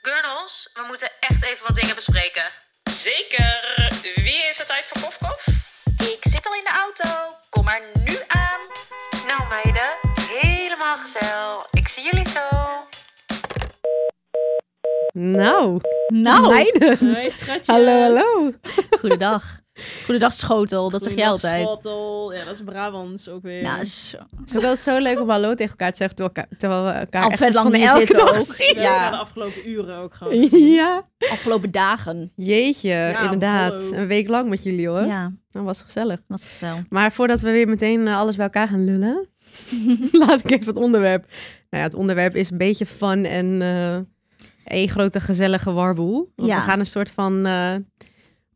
Gurnels, we moeten echt even wat dingen bespreken. Zeker. Wie heeft de tijd voor kofkof? Ik zit al in de auto. Kom maar nu aan. Nou meiden, helemaal gezellig. Ik zie jullie zo. Nou, Nou, meiden. Hoi, schatjes. Hallo, hallo. Goedendag. Goedendag, schotel. Dat zeg jij Goeiedag, altijd. Schotel. Ja, dat is Brabants ook weer. Nou, zo. Het is ook wel zo leuk om hallo tegen elkaar te zeggen terwijl, elka- terwijl we elkaar Al echt vet lang van hier elke zitten dag ook. zien. We hebben Ja. elkaar de afgelopen uren ook gewoon. gezien. Ja. afgelopen dagen. Jeetje, inderdaad. hallo. Een week lang met jullie hoor. Ja, Dat was gezellig. wat gezellig. Maar voordat we weer meteen eh, alles bij elkaar gaan lullen, laat ik even het onderwerp. Nou ja, het onderwerp is een beetje fun en eh één grote gezellige warboel. Want Ja. we gaan een soort van eh,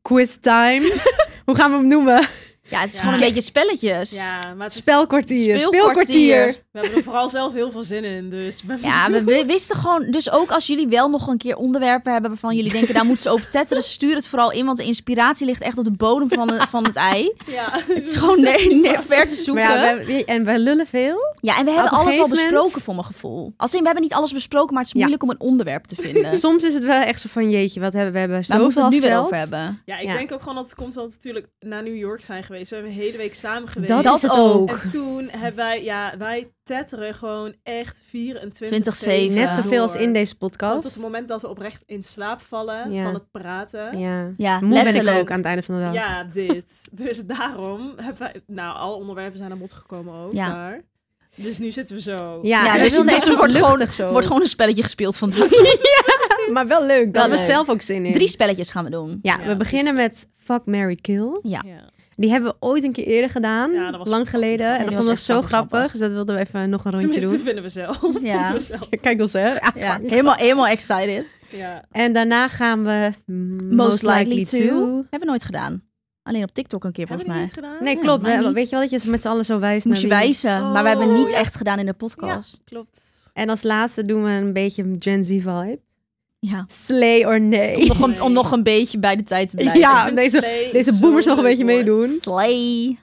quiz time. Hoe gaan we hem noemen? Ja, het is Ja. gewoon een beetje spelletjes. Ja, maar het is- Spelkwartier. Speelkwartier. we hebben er vooral zelf heel veel zin in. Dus ben Ja, we we wisten gewoon... Dus ook als jullie wel nog een keer onderwerpen hebben waarvan jullie denken... daar moeten ze over tetteren, stuur het vooral in. Want de inspiratie ligt echt op de bodem van, de- van het ei. Ja. Het is gewoon nee, nee, ver te Maar zoeken. ja, we Ja, hebben- en wij lullen veel. en we hebben Op een alles al gegeven moment- besproken voor mijn gevoel. Als in, we hebben niet alles besproken, maar het is Ja. moeilijk om een onderwerp te vinden. Soms is het wel echt zo van jeetje, wat hebben we hebben Daar Eh. moeten we zoveel het nu weer verteld. over hebben. Ja, ik Ja. denk ook gewoon dat het komt omdat we natuurlijk naar New York zijn geweest. We hebben een hele week samen geweest. Dat, is Dat het ook. ook. En toen hebben wij, ja, wij tetteren gewoon echt 24 20-7. Net zoveel als door. in deze Gewoon Tot podcast. het moment dat we oprecht in slaap vallen Ja. van het praten. Ja. Ja, Moe ben ik letterlijk. ook aan het einde van de dag. Ja, dit. Dus daarom hebben wij... Nou, alle onderwerpen zijn aan bod gekomen ook. Ja. Maar, dus nu zitten we zo. Ja, Ja, en dus- het is dus echt er wordt gewoon- luchtig zo. Wordt gewoon een spelletje gespeeld vandaag. Maar wel leuk, Wel daar hebben we leuk. zelf ook zin in. Drie spelletjes gaan we doen. Ja, Ja, we beginnen met Fuck, Mary Kill. Ja. Ja. Die hebben we ooit een keer eerder gedaan, Ja, dat was lang fucking geleden. grappig. En dat vonden Die we was echt zo fucking grappig, grappig. dus dat wilden we even nog een rondje Tenminste, doen. vinden we zelf. Ja. Mezelf. Kijk ons, hè. Ah, Ja, fuck. helemaal, helemaal excited. ja. En daarna gaan we Most, likely, to. Hebben we nooit gedaan. Alleen op TikTok een keer Hebben volgens we die mij. niet gedaan? Nee, Ja, klopt. maar we- niet. weet je wel dat je met z'n allen zo wijst Moest je naar wie- wijzen, maar we hebben het Oh, niet ja. echt gedaan in de Ja, podcast. klopt. En als laatste doen we een beetje een Gen Z vibe. Ja. Slay or nee. Om, nog een, om nog een beetje bij de tijd te blijven. Ja, Ik vind deze- slay Deze zo'n boomers nog een leuk beetje woord. meedoen. Slay.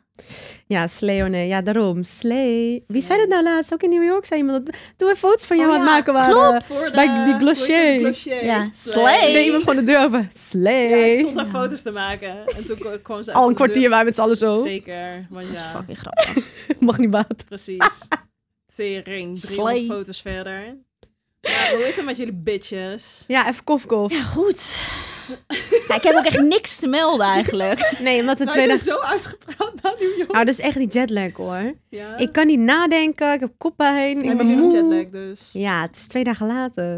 Ja, slay or nee. Ja, daarom. Slay. Wie zei Slay. dat nou laatst? Ook in New York zei iemand dat... Toen we foto's van jou Oh aan het ja, maken waren. Voor de- Bij die hoe heet glossier. het? Glossier. Ja. Ik Slay. deed iemand gewoon de deur open. Slay. Ja, ik stond daar foto's te maken. En toen kwam- kwam ze uit Al een de deur. kwartier wij met z'n allen zo. Zeker. Want Dat is ja, fucking grappig. Mag niet baat. precies. Tering. 300 Slay. foto's verder. Maar hoe is het met jullie bitches? Ja, even kof kof. Ja, goed. Ja, ik heb ook echt niks te melden eigenlijk. Nee, omdat de Nou, zijn tweede... zo uitgepraat naar New York. Nou, dat is echt die jetlag hoor. Ja. Ik kan niet nadenken. Ik heb koppijn. Ja, Ik ben jullie hebben moe. jetlag dus. Ja, het is twee dagen later.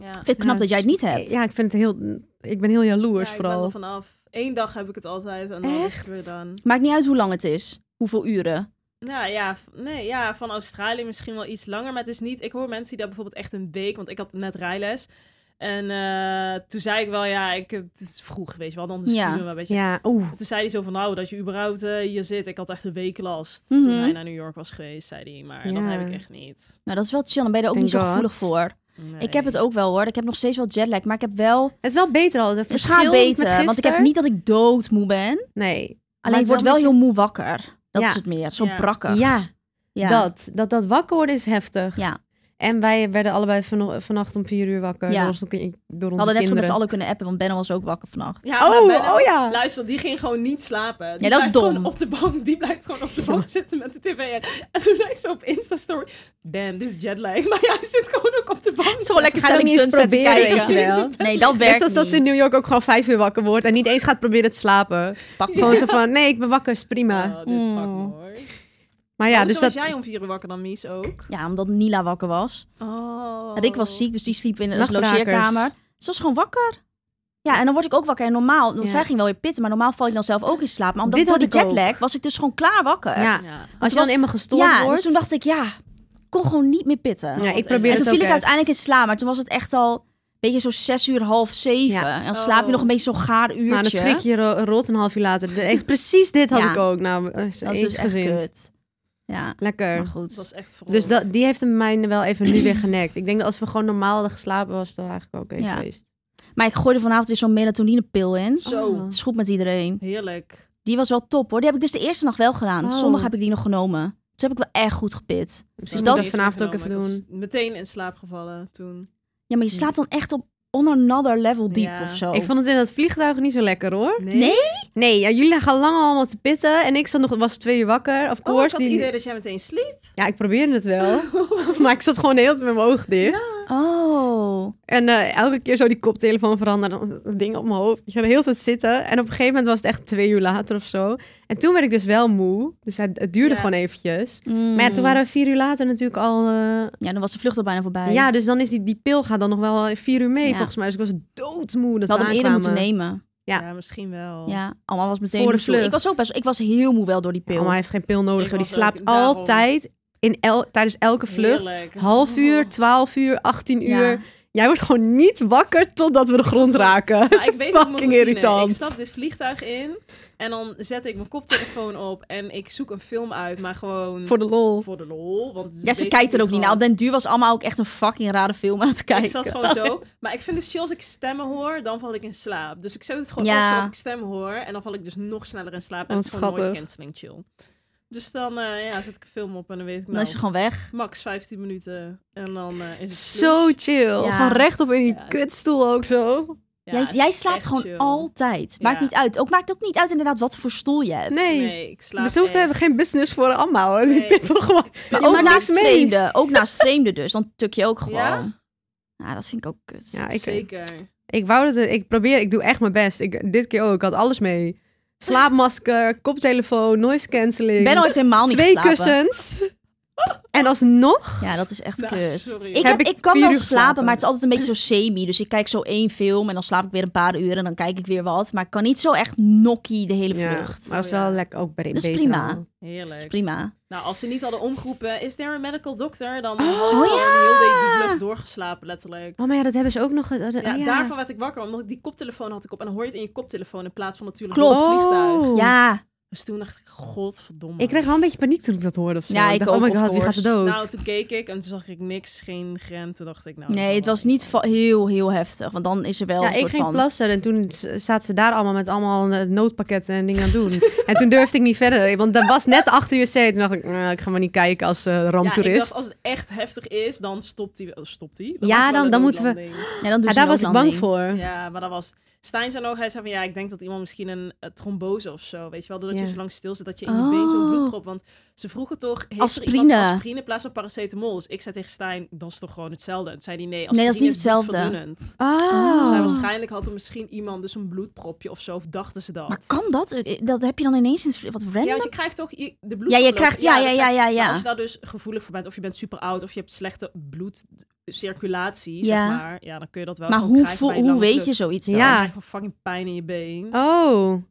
Ja. Ik vind het knap Ja, dat jij het niet hebt. Nou, Ja, ik vind het heel... Ik ben heel jaloers ik ben vooral. er vanaf. Eén dag heb ik het altijd en dan is het Echt? weer dan. Maakt niet uit hoe lang het is. Hoeveel uren. Nou ja, v- nee, ja, van Australië misschien wel iets langer, maar het is niet... Ik hoor mensen die daar bijvoorbeeld echt een week, want ik had net rijles. En eh, toen zei ik wel, ja, ik, heb- het is vroeg geweest, we hadden anders Ja. sturen, maar weet je. Ja, oeh. Toen zei hij zo van, nou, dat je überhaupt eh, hier zit. Ik had echt een week last Mhm. toen hij naar New York was geweest, zei hij. Maar dan Ja. heb ik echt niet. Nou, dat is wel chill. Dan ben je er ook Thank niet zo God. gevoelig voor. Ik heb het ook wel hoor. Ik heb nog steeds wel jetlag. Maar ik heb wel... Het is wel beter al. Het, Het verschil gaat met beter. Want ik heb gisteren- niet dat ik doodmoe ben. Nee. Alleen het het wordt wel wel heel moe wakker. Dat Ja. is het meer. Zo Ja. brakker. Ja, Ja. Dat, dat. Dat wakker worden is heftig. Ja. En wij werden allebei vano- vannacht om vier uur wakker. Ja. Door, ons, door onze We hadden net zo met z'n kinderen. allen kunnen appen, want Benno was ook wakker vannacht. Ja, maar Oh, Benno, oh ja. Luister, die ging gewoon niet slapen. Die Ja, dat is blijft gewoon dom. op de bank, die blijft gewoon op de bank zitten met de tv. En, en toen lijkt ze op Insta-story. Damn, dit is jetlag. Maar jij zit gewoon ook op de bank. Zo lekker Ga dat Selling niet eens Sunset te proberen, kijken. weet je wel. Nee, dat werkt Net als dat ze in niet. New York ook gewoon vijf uur wakker wordt en niet eens gaat proberen te slapen. Pak Gewoon zo van, nee, ik ben wakker, is prima. Oh, dit pak me Mm. hoor. maar Oh, ja, dus dat... was jij om vier uur wakker dan, Mies, ook? Ja, omdat Nila wakker was. Oh. En ik was ziek, dus die sliep in een Nachtbrakers. logeerkamer. Ze was gewoon wakker. Ja, en dan word ik ook wakker. En normaal, want Ja. zij ging wel weer pitten, maar normaal val ik dan zelf ook in slaap. Maar omdat Dit door die had ik ook. jetlag was ik dus gewoon klaar wakker. Ja, Ja. als je was- dan eenmaal gestoord Ja, wordt... dus toen dacht ik, ja, ik kon gewoon niet meer pitten. Ja, ik Wat probeer erg. en het ook toen viel ik echt. uiteindelijk in slaap, maar toen was het echt al een beetje zo zes uur, half zeven. Ja. En dan slaap je Oh. nog een beetje zo'n gaar uurtje. Nou, dan schrik je ro- rot een half uur later. De- echt, precies dit had Ja. ik ook. Nou, Dat is eens dus echt gezien. kut. Ja, maar Lekker. Het was goed. echt verrot. Dus dat, die heeft hem mij wel even nu weer genekt. Ik denk dat als we gewoon normaal hadden geslapen, was dat eigenlijk wel oké Ja. geweest. Maar ik gooide vanavond weer zo'n melatoninepil in. Zo. Oh. Het is goed met iedereen. Heerlijk. Die was wel top hoor. Die heb ik dus de eerste nacht wel gedaan. Oh. Zondag heb ik die nog genomen. Toen heb ik wel echt goed gepit. Dus Misschien dat- moet ik dat vanavond ook even doen. Meteen in slaap gevallen toen. Ja, maar je slaapt dan echt op on another level diep Ja. of zo. Ik vond het in dat vliegtuig niet zo lekker hoor. Nee? Nee, ja, jullie gaan lang allemaal te pitten. En ik zat nog, was twee uur wakker. Of Oh, ik course. had het die- idee dat jij meteen sliep. Ja, ik probeerde het wel. maar ik zat gewoon de hele tijd met mijn oog dicht. Oh. En eh, elke keer zo die koptelefoon veranderen. dan Dat ding op mijn hoofd. Ik ging de hele tijd zitten. En op een gegeven moment was het echt twee uur later of zo. En toen werd ik dus wel moe. Dus het, het duurde Ja. gewoon eventjes. Mm. Maar ja, toen waren we vier uur later natuurlijk al... eh, Ja, dan was de vlucht al bijna voorbij. Ja, dus dan is die, die pil gaat dan nog wel vier uur mee Ja. volgens mij. Dus ik was doodmoe dat we hadden we hem eerder moeten aankwamen. nemen. Ja. Ja, misschien wel. Ja, allemaal was meteen Voor de moe. vlucht. Ik was ook best, ik was heel moe wel door die Ja, pil. Oh, maar hij heeft geen pil nodig. Ik joh. Die was slaapt ook daarom. altijd in el- tijdens elke vlucht. Heerlijk. Half uur, twaalf uur, 18 Oh. Ja. uur. Jij wordt gewoon niet wakker totdat we de grond raken. Maar ik weet ook mijn Fucking routine. irritant. Ik stap dit vliegtuig in en dan zet ik mijn koptelefoon op en ik zoek een film uit, maar gewoon Voor de lol. voor de lol. Want Ja, ze kijkt er ook niet naar. Op den duur was allemaal ook echt een fucking rare film aan het kijken. Ik zat gewoon zo. Maar ik vind dus chill als ik stemmen hoor, dan val ik in slaap. Dus ik zet het gewoon Ja. Oh, op zodat ik stemmen hoor. En dan val ik dus nog sneller in slaap. En Wat het is gewoon noise schattig. cancelling chill. Dus dan eh, ja, zet ik een film op en dan weet ik Dan nou, is ze gewoon weg. max 15 minuten. En dan eh, is het Zo plus. chill. Ja. Gewoon rechtop in die Ja, is- kutstoel ook zo. Ja, jij, het is jij slaapt echt gewoon chill. altijd. Maakt Ja. niet uit. Ook maakt ook niet uit inderdaad wat voor stoel je hebt. Nee. dus Nee, ik slaap we hoeven echt. hebben geen business voor allemaal hoor. Die Nee. pit toch gewoon. Maar Je ook maakt naast niks mee. vreemden. Ook naast vreemden dus. Dan tuk je ook gewoon. Ja? Ja? dat vind ik ook kut. Ja, ik, Zeker. ik wou dat het- ik probeer, ik doe echt mijn best. Ik, dit keer ook, ik had alles mee. Slaapmasker, koptelefoon, noise cancelling. Benno heeft helemaal niet twee geslapen. kussens. En alsnog, Ja, dat is echt Nou, kut. sorry. Ik, Heb heb, ik ik, kan vier wel uur slapen, geslapen? maar het is altijd een beetje zo semi. Dus ik kijk zo één film en dan slaap ik weer een paar uur en dan kijk ik weer wat. Maar ik kan niet zo echt nokkie de hele ja, vlucht. maar dat is Oh, ja. wel lekker ook bre- Dat is beter prima. allemaal. Heerlijk. Prima. Nou, als ze niet hadden omgeroepen, is there a medical doctor? Dan Oh, hadden we gewoon ja! heel de die vlucht doorgeslapen, letterlijk. Oh, maar ja, dat hebben ze ook nog. eh, eh, Ja, ja. daarvan werd ik wakker, omdat ik die koptelefoon had ik op. En dan hoor je het in je koptelefoon in plaats van natuurlijk Klopt. op het vliegtuig. Oh. Ja, Dus toen dacht ik, godverdomme. Ik kreeg wel een beetje paniek toen ik dat hoorde of zo. Ja, ik dacht, ook, oh my of god, wie gaat er course. dood? Nou, toen keek ik en toen zag ik niks, geen grens. Toen dacht ik, nou... nee, het was niet va- heel, heel heftig. Want dan is er wel ja, een ik soort ging van... plassen en toen s- zaten ze daar allemaal met allemaal eh, noodpakketten en dingen aan het doen. en toen durfde ik niet verder, want dat was net achter je zee. Toen dacht ik, "Eh, ik ga maar niet kijken als eh, Ja, ik ramptoerist. dacht, als het echt heftig is, dan stopt hij. oh, stopt hij? Ja, was wel dan- een dan moeten we- noodlanding. Ja, dan doen Ja, ze daar was ik bang noodlanding. voor. Ja, maar dat was... Stijn zei ook, hij zei van, ja, ik denk dat iemand misschien een, eh, trombose of zo, weet je wel. Doordat Ja. je zo lang stil zit, dat je in je been Oh. zo'n bloedprop... Want ze vroegen toch, heeft Aspirine. er iemand aspirine in plaats van paracetamol? Dus ik zei tegen Stijn, dat is toch gewoon hetzelfde? En toen zei hij, nee, aspirine dat is niet hetzelfde. bloedverdunnend. Ah. Oh. Dus hij waarschijnlijk had er misschien iemand dus een bloedpropje of zo, of dachten ze dat. Maar kan dat? Eh, Dat heb je dan ineens in het vlie- Wat random? Ja, want je krijgt toch je- de bloed. Ja, je krijgt... Ja, ja, ja, ja, ja. Als je daar dus gevoelig voor bent, of je bent super oud, of je hebt slechte bloedcirculatie, Ja. zeg maar. Ja, dan kun je dat wel Maar gewoon hoe, krijgen voel- bij een hoe lange weet vlucht. je zoiets dan? Dan Ja. krijg je gewoon fucking pijn in je been. Oh.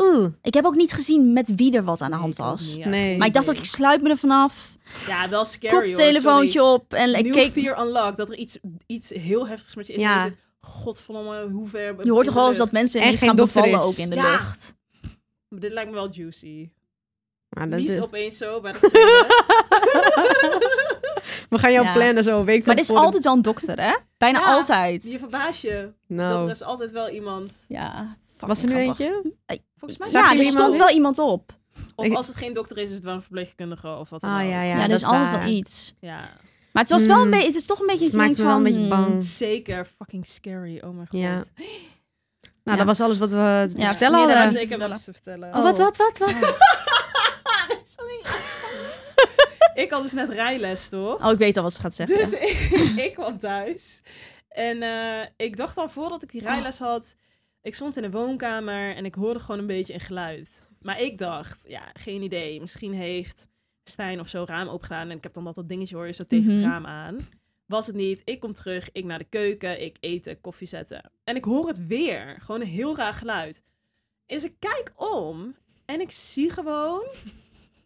Oeh. Ik heb ook niet gezien met wie er wat aan de hand Nee, ik ook was. niet, Nee. geen Maar ik dacht ook, idee. ik sluit me er vanaf. Ja, wel scary hoor, Koptelefoontje op. En sorry. ik Nieuw keek... Fear Unlocked, dat er iets, iets heel heftigs met je is. Ja. Ja. Zit, godverdomme, hoe ver... Je hoort toch wel eens dat mensen En ineens geen gaan dokter bevallen is. ook in de Ja. lucht. Dit lijkt me wel juicy. Maar Nou, dat Mies is- opeens zo bij de tweede. We gaan jou Ja. plannen zo, een week van Maar er is tevoren. altijd wel een dokter, hè? Bijna Ja. altijd. Je verbaas je. Oh. Dat er Nou, is altijd wel iemand... Ja. was er nu eentje? Volgens mij... Zag ja, jullie er hem stond al? wel iemand op. Of Ik- als het geen dokter is, is het wel een verpleegkundige of wat dan Ah, ook. ja, ja. Ja, er dat is is altijd waar. wel iets. Ja, Maar het was wel een Mm. beetje... Het is toch een beetje... Het iets maakt me wel een beetje van, bang. Nou, zeker fucking scary. Oh mijn god. Ja. Ja. Ja. Nou, dat was alles wat we te vertellen Ja, meer hadden. dan Maar Te zeker vertellen. nog iets te vertellen. Oh, wat, wat, wat, wat? Ik had dus net rijles, toch? hmm. Oh, ik weet al wat ze gaat zeggen. Dus ik, ik kwam thuis. En eh, ik dacht al voordat Oh. ik die rijles had... Ik stond in de woonkamer en ik hoorde gewoon een beetje een geluid. Maar ik dacht, ja, geen idee. Misschien heeft Stijn of zo raam opgedaan. En ik heb dan dat, dat dingetje hoor je zo tegen Mhm. het raam aan. Was het niet. Ik kom terug. Ik naar de keuken. Ik eten, koffie zetten. En ik hoor het weer. Gewoon een heel raar geluid. Dus ik kijk om. En ik zie gewoon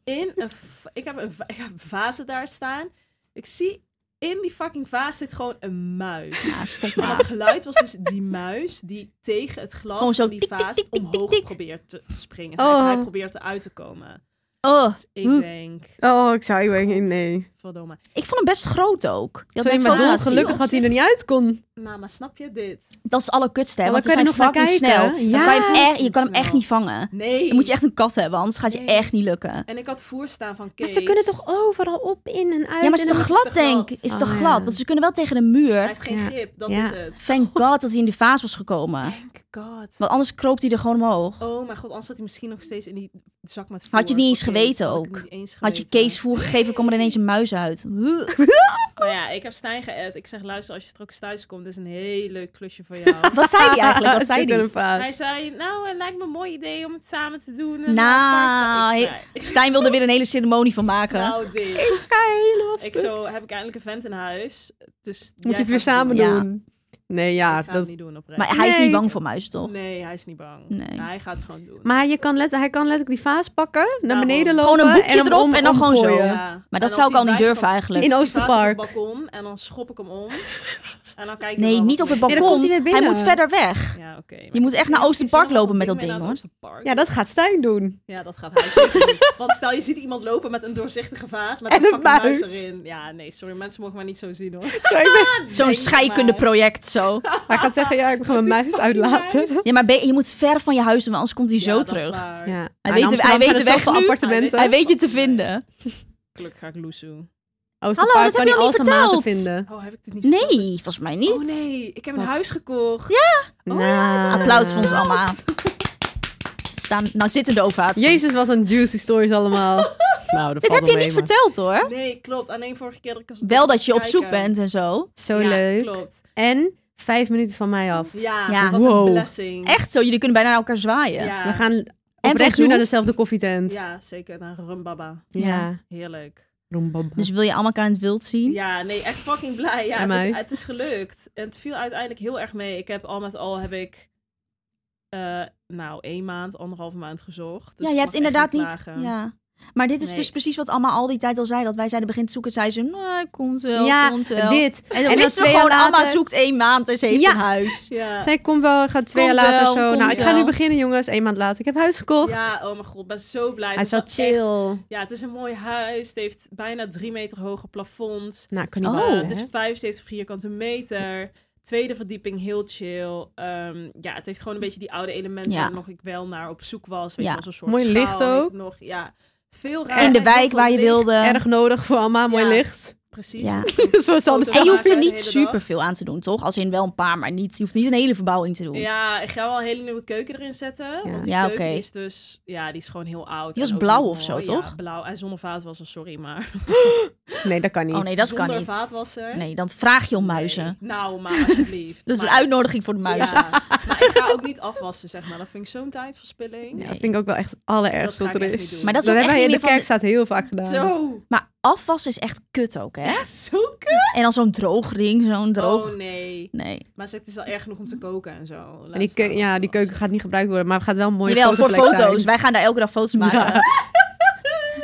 in een... va- Ik heb een, va- ik heb een vazen daar staan. Ik zie in die fucking vaas zit gewoon een muis. Ja, stop En maar. dat geluid was dus die muis die tegen het glas Gewoon zo van die tik, tik, vaas tik, tik, tik, omhoog tik. probeert te springen. Hij- Oh. Hij probeert eruit te komen. Oh, Dus ik denk, Oh, ik zou ik nee. verdomme. ik vond hem best groot ook. Je had Sorry, net maar foto's foto's Don, zien gelukkig op had hij zich. er niet uit kon. Nou, maar snap je dit? Dat is het allerkutste, hè? Maar Want ze dan zijn kan je er fucking nog naar snel. kijken. Dan Ja. kan je, hem echt, je kan hem Snel. echt niet vangen. Nee. Dan moet je echt een kat hebben, anders gaat je Nee. echt niet lukken. En ik had voer staan van Maar Kees. ze kunnen toch overal op, in en uit. Ja, maar het en is toch dan- is te glad, denk ik. glad. Is toch Oh, ja. glad? Want ze kunnen wel tegen de Hij muur. heeft geen Ja. grip, dat Ja. is het. Thank god dat hij in de vaas was gekomen. Thank god. Want anders kroopt hij er gewoon omhoog. Oh mijn god, anders zat hij misschien nog steeds in die zak met voer. Had je niet eens voor Kees. geweten Had ik ook. niet eens Had je geweten. Kees voorgegeven, kwam er ineens een muis uit. Nou ja, ik heb Stijn geëd. Ik zeg, luister, als je straks thuis komt, dit is een heel leuk klusje voor jou. Wat zei hij eigenlijk? Wat Het zei zit in hij? een vaas. Hij zei, nou, het lijkt me een mooi idee om het samen te doen. En Nou, apart. he- ik zei, Stijn wilde er weer een hele ceremonie van maken. nou dit. ga helemaal Ik zo, heb ik eindelijk een vent in huis. Dus Moet je het weer samen Ja. doen? Nee, Ja, ja. ik ga het dat... niet doen oprecht. Maar hij is niet Nee. bang voor muizen, toch? Nee, hij is niet bang. Nee. Nou, hij gaat het gewoon doen. Maar je kan let... hij kan letterlijk die vaas pakken, naar Daarom. beneden lopen... Gewoon een boekje en hem erop om- en dan gewoon zo. omgooien. Maar dat zou ik al niet durven eigenlijk. In Oosterpark. Oosterpark. balkon en dan schop ik hem om. En dan kijk ik Nee, wel niet op wat het mee. dan komt balkon. hij weer hij binnen. moet verder weg. Ja, oké. maar Je moet ik echt naar heb geen zin om Oosterpark zo'n lopen met dat mee ding, naar hoor. het Oosterpark. Ja, dat gaat Stijn doen. Ja, dat gaat hij zeker doen. Want stel, je ziet iemand lopen met een doorzichtige vaas met En een een fucking muis. muis. erin. Ja, nee, sorry, mensen mogen mij niet zo zien hoor. Zo, ik ben- Zo'n scheikundeproject zo. Hij gaat zeggen, ja, ik ga mijn muis uitlaten. muis. Ja, maar be- je moet ver van je huis doen, want anders komt hij Ja, zo dat is terug. waar. Ja. weet de- hij weet de weg van nu. appartementen. Hij weet je te vinden. Gelukkig ga ik loesoe. Oosterpark Hallo, dat kan heb je hij al al niet zijn maten verteld. vinden. Oh, heb ik dit niet Nee, volgens mij niet. verteld? Oh nee, ik heb een Wat? huis gekocht. Oh, Nou. Applaus voor ons allemaal. Staan, nou zitten de ovatie. Jezus, wat een juicy stories allemaal. nou, dat Dit valt wel heb je mee, niet maar- verteld hoor. Nee, klopt. Alleen vorige keer dat ik... als- Wel dat je op zoek kijken. bent en zo. Zo Ja, leuk. klopt. En vijf minuten van mij af. Ja, Ja. wat Wow. een blessing. Echt zo, jullie kunnen bijna naar elkaar zwaaien. Ja, We gaan En oprecht van nu Zoe? naar dezelfde koffietent. ja zeker. Naar Rumbaba. Ja. Heerlijk. Rombamba. Dus wil je allemaal elkaar in het wild zien? Ja, nee, echt fucking blij. Ja, En het is, mij. het is gelukt. En het viel uiteindelijk heel erg mee. Ik heb al met al heb ik, eh, nou, één maand, anderhalve maand gezocht. Dus ja, je ik hebt mag echt inderdaad niet. klagen. Ja. Maar dit is Nee. dus precies wat allemaal al die tijd al zei. Dat wij zeiden begin te zoeken. Zei ze, nou, komt wel, Ja, komt wel. dit. En En dan dan wisten we twee jaar gewoon, Anna later- zoekt één maand en ze heeft Ja. een huis. Ja. Zij komt wel, gaat twee Komt jaar later wel, zo. komt Nou, ik ga wel. nu beginnen, jongens. Eén maand later. Ik heb huis gekocht. Ja, oh mijn god, ik ben zo blij. Hij Het is wel echt- chill. ja, het is een mooi huis. Het heeft bijna drie meter hoge plafonds. Nou, ik kan niet Oh. Eh, wachten, het is hè. 75 vierkante meter. Tweede verdieping, heel chill. Ehm, ja, het heeft gewoon een beetje die oude elementen Ja. waar nog ik wel naar op zoek was. Weet Ja. je, wel, zo'n soort Mooi schaal licht heeft het ook. Nog, ja, veel En raar. In de heel wijk veel waar je licht. wilde. Erg nodig voor allemaal mooi Ja. licht. Dus Precies. Ja. Zoals alles En je hoeft er Ja, niet de hele super dag. veel aan te doen, toch? Als in wel een paar, maar niet, je hoeft niet een hele verbouwing te doen. Ja, ik ga wel een hele nieuwe keuken erin zetten. Want die Ja, keuken oké. is dus... Ja, die is gewoon heel oud. Die was en ook blauw niet of zo, mooi. Ja, toch? blauw. En zonnevaat was er, sorry, maar... Nee, dat kan niet. Oh nee, dat kan zonder niet. vaatwasser? Nee, dan vraag je om muizen. Nee. Nou, maar alsjeblieft. Dat is een Maar- uitnodiging voor de muizen. Ja, maar ik ga ook niet afwassen, zeg maar. Dat vind ik zo'n tijdverspilling. Ja, dat vind ik ook wel echt het allerergste Dat ga wat er ik echt niet is. doen. Maar dat is hebben ook echt wij in de niet meer van kerk staat heel vaak gedaan. Zo. Maar afwas is echt kut ook, hè? Zo kut. En dan zo'n droogring, zo'n droog... Oh nee. nee. Maar zeg, het is al erg genoeg om te koken en zo. En die, keu- ja, die keuken gaat niet gebruikt worden, maar het gaat wel een mooie Jawel, voor fotoplek zijn. foto's. Wij gaan daar elke dag foto's maken.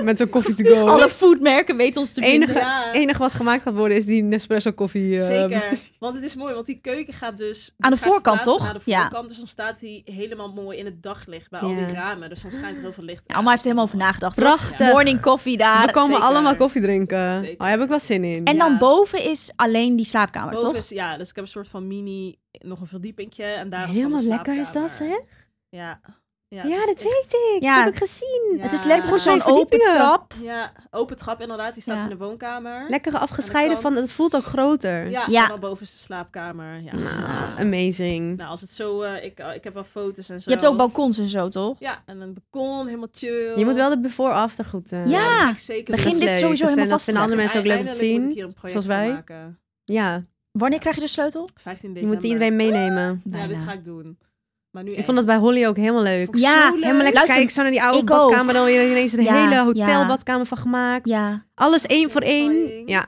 Met zo'n koffie to go. Alle foodmerken weten ons te vinden. enige, Ja. enige wat gemaakt gaat worden is die Nespresso koffie. eh, Zeker. Want het is mooi, want die keuken gaat dus... Aan de gaat voorkant, plaatsen toch? Aan de Ja. voorkant, dus dan staat hij helemaal mooi in het daglicht bij al die Ja. ramen. Dus dan schijnt er heel veel licht Ja, Alma heeft er helemaal over nagedacht. hoor. Prachtig. Morning koffie daar. We komen zeker. allemaal koffie drinken. Zeker. Oh, daar heb ik wel zin in. En Ja. dan boven is alleen die slaapkamer, Boven toch? is- ja, dus ik heb een soort van mini, nog een verdiepingje en daar Helemaal lekker is dat, zeg. Ja. Ja, Ja, het is dat echt- weet ik. Ja. Dat heb ik gezien. Ja. Het is lekker gewoon zo'n Twee open verdiepingen. trap. Ja, open trap inderdaad. Die staat Ja. in de woonkamer. Lekker afgescheiden Aan de van, kant. het voelt ook groter. Ja, Ja. ja. boven is de slaapkamer. Ja. Nou, amazing. Nou, als het zo... eh, ik, ik heb wel foto's en zo. Je hebt ook balkons en zo, toch? Ja, en een balkon, helemaal chill. Je moet wel de before after goed... eh, Ja. dat ga ik zeker Begin doen. dat is dit leuk. sowieso Dat helemaal vinden- vast te Dat vinden andere mensen ook leuk om te Eindelijk moet zien. ik hier een project zoals van wij. maken. Ja, Wanneer krijg je de sleutel? 15 je december. moet iedereen meenemen. Ja, dit Bijna. ga ik doen. Maar nu Ik vond dat bij Holly ook helemaal leuk. Vond ik Ja, zo leuk. Helemaal lekker Luister, kijk zo naar die oude ik ook. badkamer. Dan weer ineens een Ja, hele ja. hotelbadkamer van gemaakt. Ja. Alles Zo één voor één. satisfying. Ja,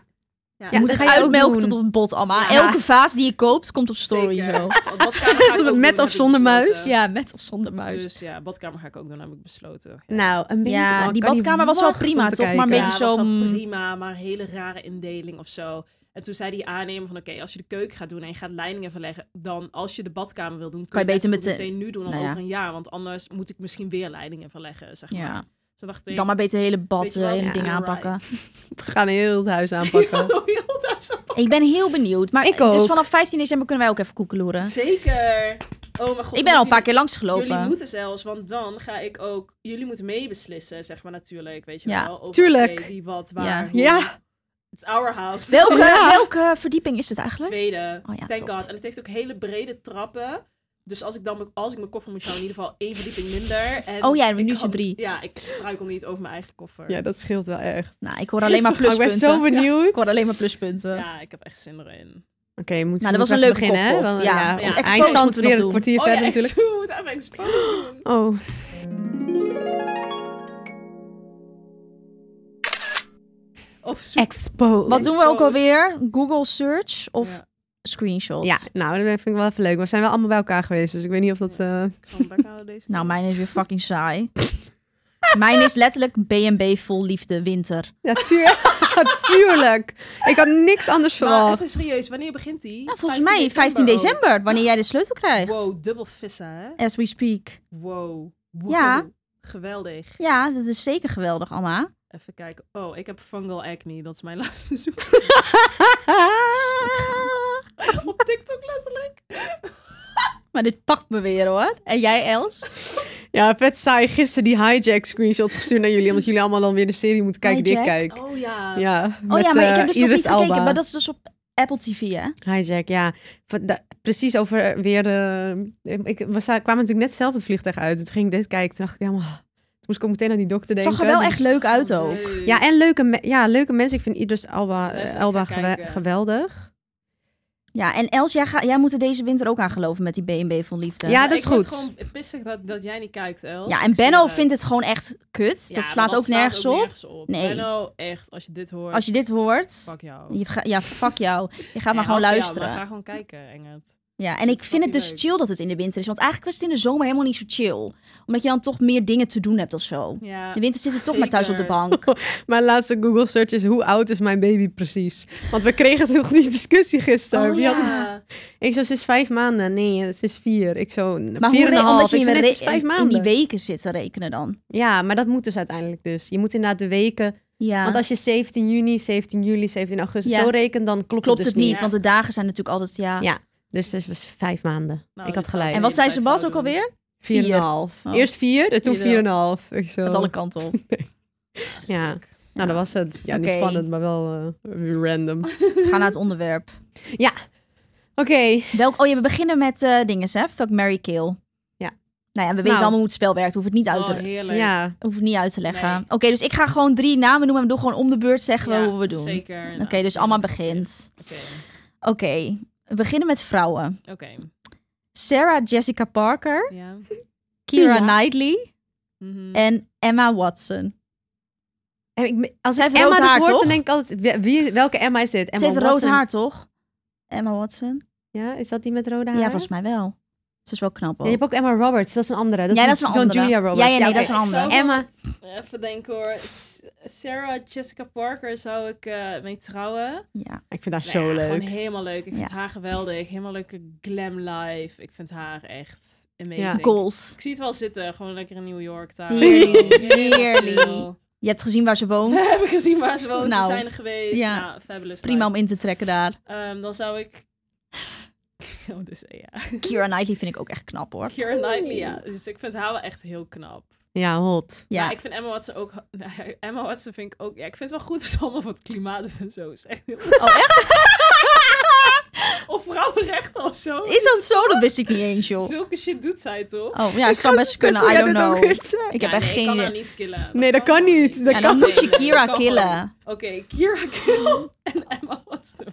Ja, Je moet dat het ga je ook uitmelken doen. tot op het bot, Alma. Ja. Elke vaas die je koopt, komt op story Zeker. zo. Want badkamer ga ik ook Met doen, of heb ik zonder muis? besloten. Ja, met of zonder muis. Dus ja, badkamer ga ik ook doen, heb ik besloten. nou, een beetje. Ja, die badkamer was wel prima, toch? Maar een Ja, beetje was zo, wel mm. prima, maar een hele rare indeling of zo. En toen zei die aannemer van, oké, als je de keuken gaat doen en je gaat leidingen verleggen, dan als je de badkamer wil doen, kun Kan je beter net zo goed meteen- meteen nu doen dan Nou ja. over een jaar. Want anders moet ik misschien weer leidingen verleggen, zeg maar. Ja. Ze dacht Dan maar beter hele bad Weet je wat? eh, hele Ja, dingen you're aanpakken. We gaan heel het huis aanpakken. Oh, Ik ben heel benieuwd. Maar Ik dus ook. vanaf 15 december kunnen wij ook even koekeloeren. Zeker. Oh mijn god. Ik ben al een jullie- paar keer langs Jullie gelopen. moeten zelfs, want dan ga ik ook... Jullie moeten meebeslissen, zeg maar natuurlijk, weet je Ja, wel. over, tuurlijk. oké, wie, wat, waar. Ja. hoe. ja, It's our house. Welke, Ja. welke verdieping is het eigenlijk? Tweede. Oh ja, Thank top. god. En het heeft ook hele brede trappen. Dus als ik dan mijn- als ik mijn koffer moet houden, in ieder geval één verdieping minder. En Oh ja, en ik nu is je had- drie. Ja, ik struikel niet over mijn eigen koffer. ja, dat scheelt wel erg. Nou, ik hoor alleen maar Oh, ik ben pluspunten. zo benieuwd. Ik hoor alleen maar pluspunten. Ja, ik heb echt zin erin. Oké, moet Nou, moeten dat was we een even leuke beginnen, hè? kopkop. Want, Ja. ja, Ja. ja. Expose eindstand moeten we nog weer een doen. kwartier oh verder ja, natuurlijk. exposed. Moet even exposed doen. Oh, Of zoek. expo. Wat doen we ook Zo- alweer? Google search of Ja, screenshots? Ja, nou, dat vind ik wel even leuk. We zijn wel allemaal bij elkaar geweest, dus ik weet niet of dat... eh, ik zal hem weghouden deze Nou, keer. mijn is weer fucking saai. mijn is letterlijk B&B vol liefde winter. Ja, tuur- tuurlijk. Ik had niks anders Maar verwacht. even serieus, wanneer begint die? Oh, Nou, volgens mij 15 december, wanneer jij de sleutel krijgt. Wow, dubbel vissen, hè? As we speak. Wow. Wow. Ja. Geweldig. Ja, dat is zeker geweldig, Anna. Even kijken. Oh, ik heb fungal acne. Dat is mijn laatste zoek op TikTok letterlijk. maar dit pakt me weer hoor. En jij Els? Ja, vet saai. Gisteren die hijack screenshot gestuurd naar jullie, omdat jullie allemaal dan weer de serie moeten kijken die ik Hijack? kijk. Oh ja. Ja, eh, Oh ja, maar ik heb dus nog niet gekeken, Alba. maar dat is dus op Apple TV hè? Hijack, ja. Van da- Precies over eh, weer de... Ik, we za- kwamen natuurlijk net zelf het vliegtuig uit. Toen ging ik dit kijken, toen dacht ik helemaal... Toen moest ik ook meteen aan die dokter denken. Zag er wel echt leuk uit ook. Leuk. Ja, en leuke, me- ja, leuke mensen. Ik vind Idris Alba, eh, Luister, ik Elba ga gewe- kijken. geweldig. Ja, en Els, jij, ga, jij moet er deze winter ook aan geloven met die B&B vol liefde. Ja, dat ik is word goed. gewoon pissig dat, dat jij niet kijkt, Els. Ja, en Ik zie Benno het. vindt het gewoon echt kut. Ja, dat maar slaat ook nergens op. Nee. Nee. Benno, echt, als je dit hoort. Als je dit hoort, Pak jou. je ga- ja, fuck jou. Je gaat Ja, maar gewoon half jou, luisteren. maar ga gewoon kijken, Engert. Ja, en Dat ik is vind het fucking dus leuk. chill dat het in de winter is. Want eigenlijk was het in de zomer helemaal niet zo chill. Omdat je dan toch meer dingen te doen hebt of zo. In Ja. de winter zit je toch maar thuis op de Zeker. bank. Mijn laatste Google search is hoe oud is mijn baby precies? Want we kregen toch die discussie gisteren. Oh, Wie had- Ja. Ik zo, ze is vijf maanden. Nee, ze is vier. Ik zo, Maar vier en hoe een re- half. omdat je Ik in, zo, nee, re- ze is vijf in, in die maanden. weken zit te rekenen dan. ja, maar dat moet dus uiteindelijk dus. Je moet inderdaad de weken... Ja, Want als je 17 juni, 17 juli, 17 augustus Ja. zo rekent, dan klopt, klopt het het dus niet. Ja. Want de dagen zijn natuurlijk altijd, ja. Ja. Dus ze was vijf maanden. Nou, ik dit had zou- gelijk. En wat Ja, zei dat ze Bas zou ook ik doen. alweer? Vier en vier? een half. Oh. Eerst vier en toen Vier en vier en een half. Ik zo. Met alle kanten op. Ja. Nou, dat was het. Ja, niet Oké. spannend, maar wel eh, random. Oké. Ga naar het onderwerp. Welk, oh ja, we beginnen met eh dingen, hè? Fuck, Mary kill. Ja. Nou ja, we weten Nou. allemaal hoe het spel werkt. Hoef het niet uit Oh, te, heerlijk. Ja. hoef het niet uit te leggen. Nee. Oké, dus ik ga gewoon drie namen noemen. En we doen gewoon om de beurt zeggen we Ja, hoe we doen. Zeker. Nou, Oké, dus allemaal begint. Oké. Oké, we beginnen met vrouwen. Oké. Sarah Jessica Parker, Ja. Kira Ja. Mm. Knightley Mhm. en Emma Watson. En ik, als Zij ik heeft Emma rood dus haar, hoort, toch? dan denk ik altijd, wie- wie, welke Emma is dit? Emma Ze heeft rood Watson. haar, toch? Emma Watson? Ja, is dat die met rode haar? Ja, volgens mij wel. Ze is wel knap Ja, ook. je hebt ook Emma Roberts, dat is een andere. Dat Ja, is dat is een zo'n andere. Julia Roberts. Ja, ja, nee, dat is oké. een Ik zou ander. wel- Emma. Even denken hoor. S- Sarah Jessica Parker zou ik eh, mee trouwen. Ja. Ik vind haar Nou zo ja, leuk. Gewoon helemaal leuk. Ik vind Ja. haar geweldig. Helemaal leuke glam life. Ik vind haar echt amazing. Ja. Goals. Ik zie het wel zitten. Gewoon lekker in New York daar. Heerlijk. Helemaal Heerlijk. chill. Je hebt gezien waar ze We woont. hebben gezien waar ze woont. Nou, we zijn er geweest. ja. Ja, fabulous. Prima om life. in te trekken daar. Ehm, dan zou ik... Oh, dus ja. Kira Knightley vind ik ook echt knap hoor. Keira Knightley, ja. Dus ik vind haar wel echt heel knap. Ja, hot. Ja. Maar ik vind Emma Watson ook... Nee, Emma Watson vind ik ook... Ja, ik vind het wel goed dat ze allemaal wat klimaat doet en zo. Is echt heel- Oh, echt? Of vrouwenrechten of zo. Is dat zo? Dat wist ik niet eens, joh. Zulke shit doet zij toch? Oh, ja, ik zou best kunnen. I don't know. Ik heb echt nee, geen Ik kan haar idee. niet killen. Nee, dat kan niet. Dat Ja, dan kan moet je niet. Dat Kira kan niet. killen. Mm. Oké, Kira kill en Emma Watson.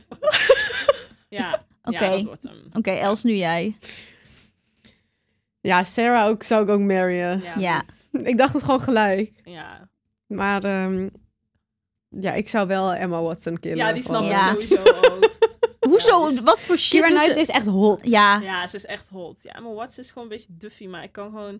ja, Oké. ja, dat wordt hem. Oké, Els, nu jij. Ja, Sarah ook, zou ik ook marryen. Ja. Ja. goed. Ik dacht het gewoon gelijk. Ja, Maar ehm, ja, ik zou wel Emma Watson killen. ja die snap Gewoon. Ja. ik sowieso ook. Ja, Hoezo? dus- Wat voor shit Keira doet ze? Knightley is echt hot. Ja, Ja, ze is echt hot. Ja, Emma Watson is gewoon een beetje duffy, maar ik kan gewoon...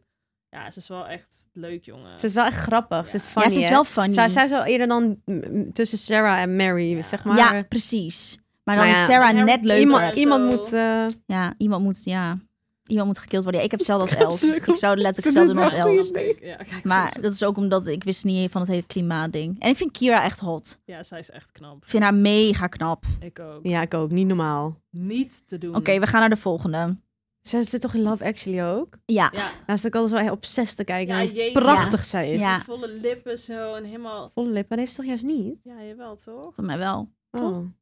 Ja, ze is wel echt leuk, jongen. Ze is wel echt grappig. Ze is Ja. funny, ja, ze is hè? wel funny. Zij, zij zou eerder dan mm, mm, tussen Sarah en Mary, Ja. zeg maar. Ja, precies. Maar dan Maar is ja, Sarah maar net Harry- leuker. iemand, Zo. iemand moet... eh, Ja, iemand moet, ja. iemand moet gekild worden. Ja, ik heb hetzelfde als Els. Ze- Ik zou letterlijk hetzelfde doen als Ze doet Els. wel goede dingen. Ja, kijk, Maar dat is ook omdat ik wist niet van het hele klimaatding. En ik vind Kira echt hot. ja, zij is echt knap. Ik vind haar mega knap. Ik ook. Ja, ik ook. Niet normaal. Niet te doen. Oké, we gaan naar de volgende. Zij zit toch in Love Actually ook? Ja. Ja, Daar zit ik altijd dus wel op zes te kijken. Ja, hoe jezus. prachtig zij is. Ja. volle lippen zo en helemaal... Volle lippen, maar heeft ze toch juist niet? Ja, jawel toch? Voor mij wel. Toch? Oh. Mm.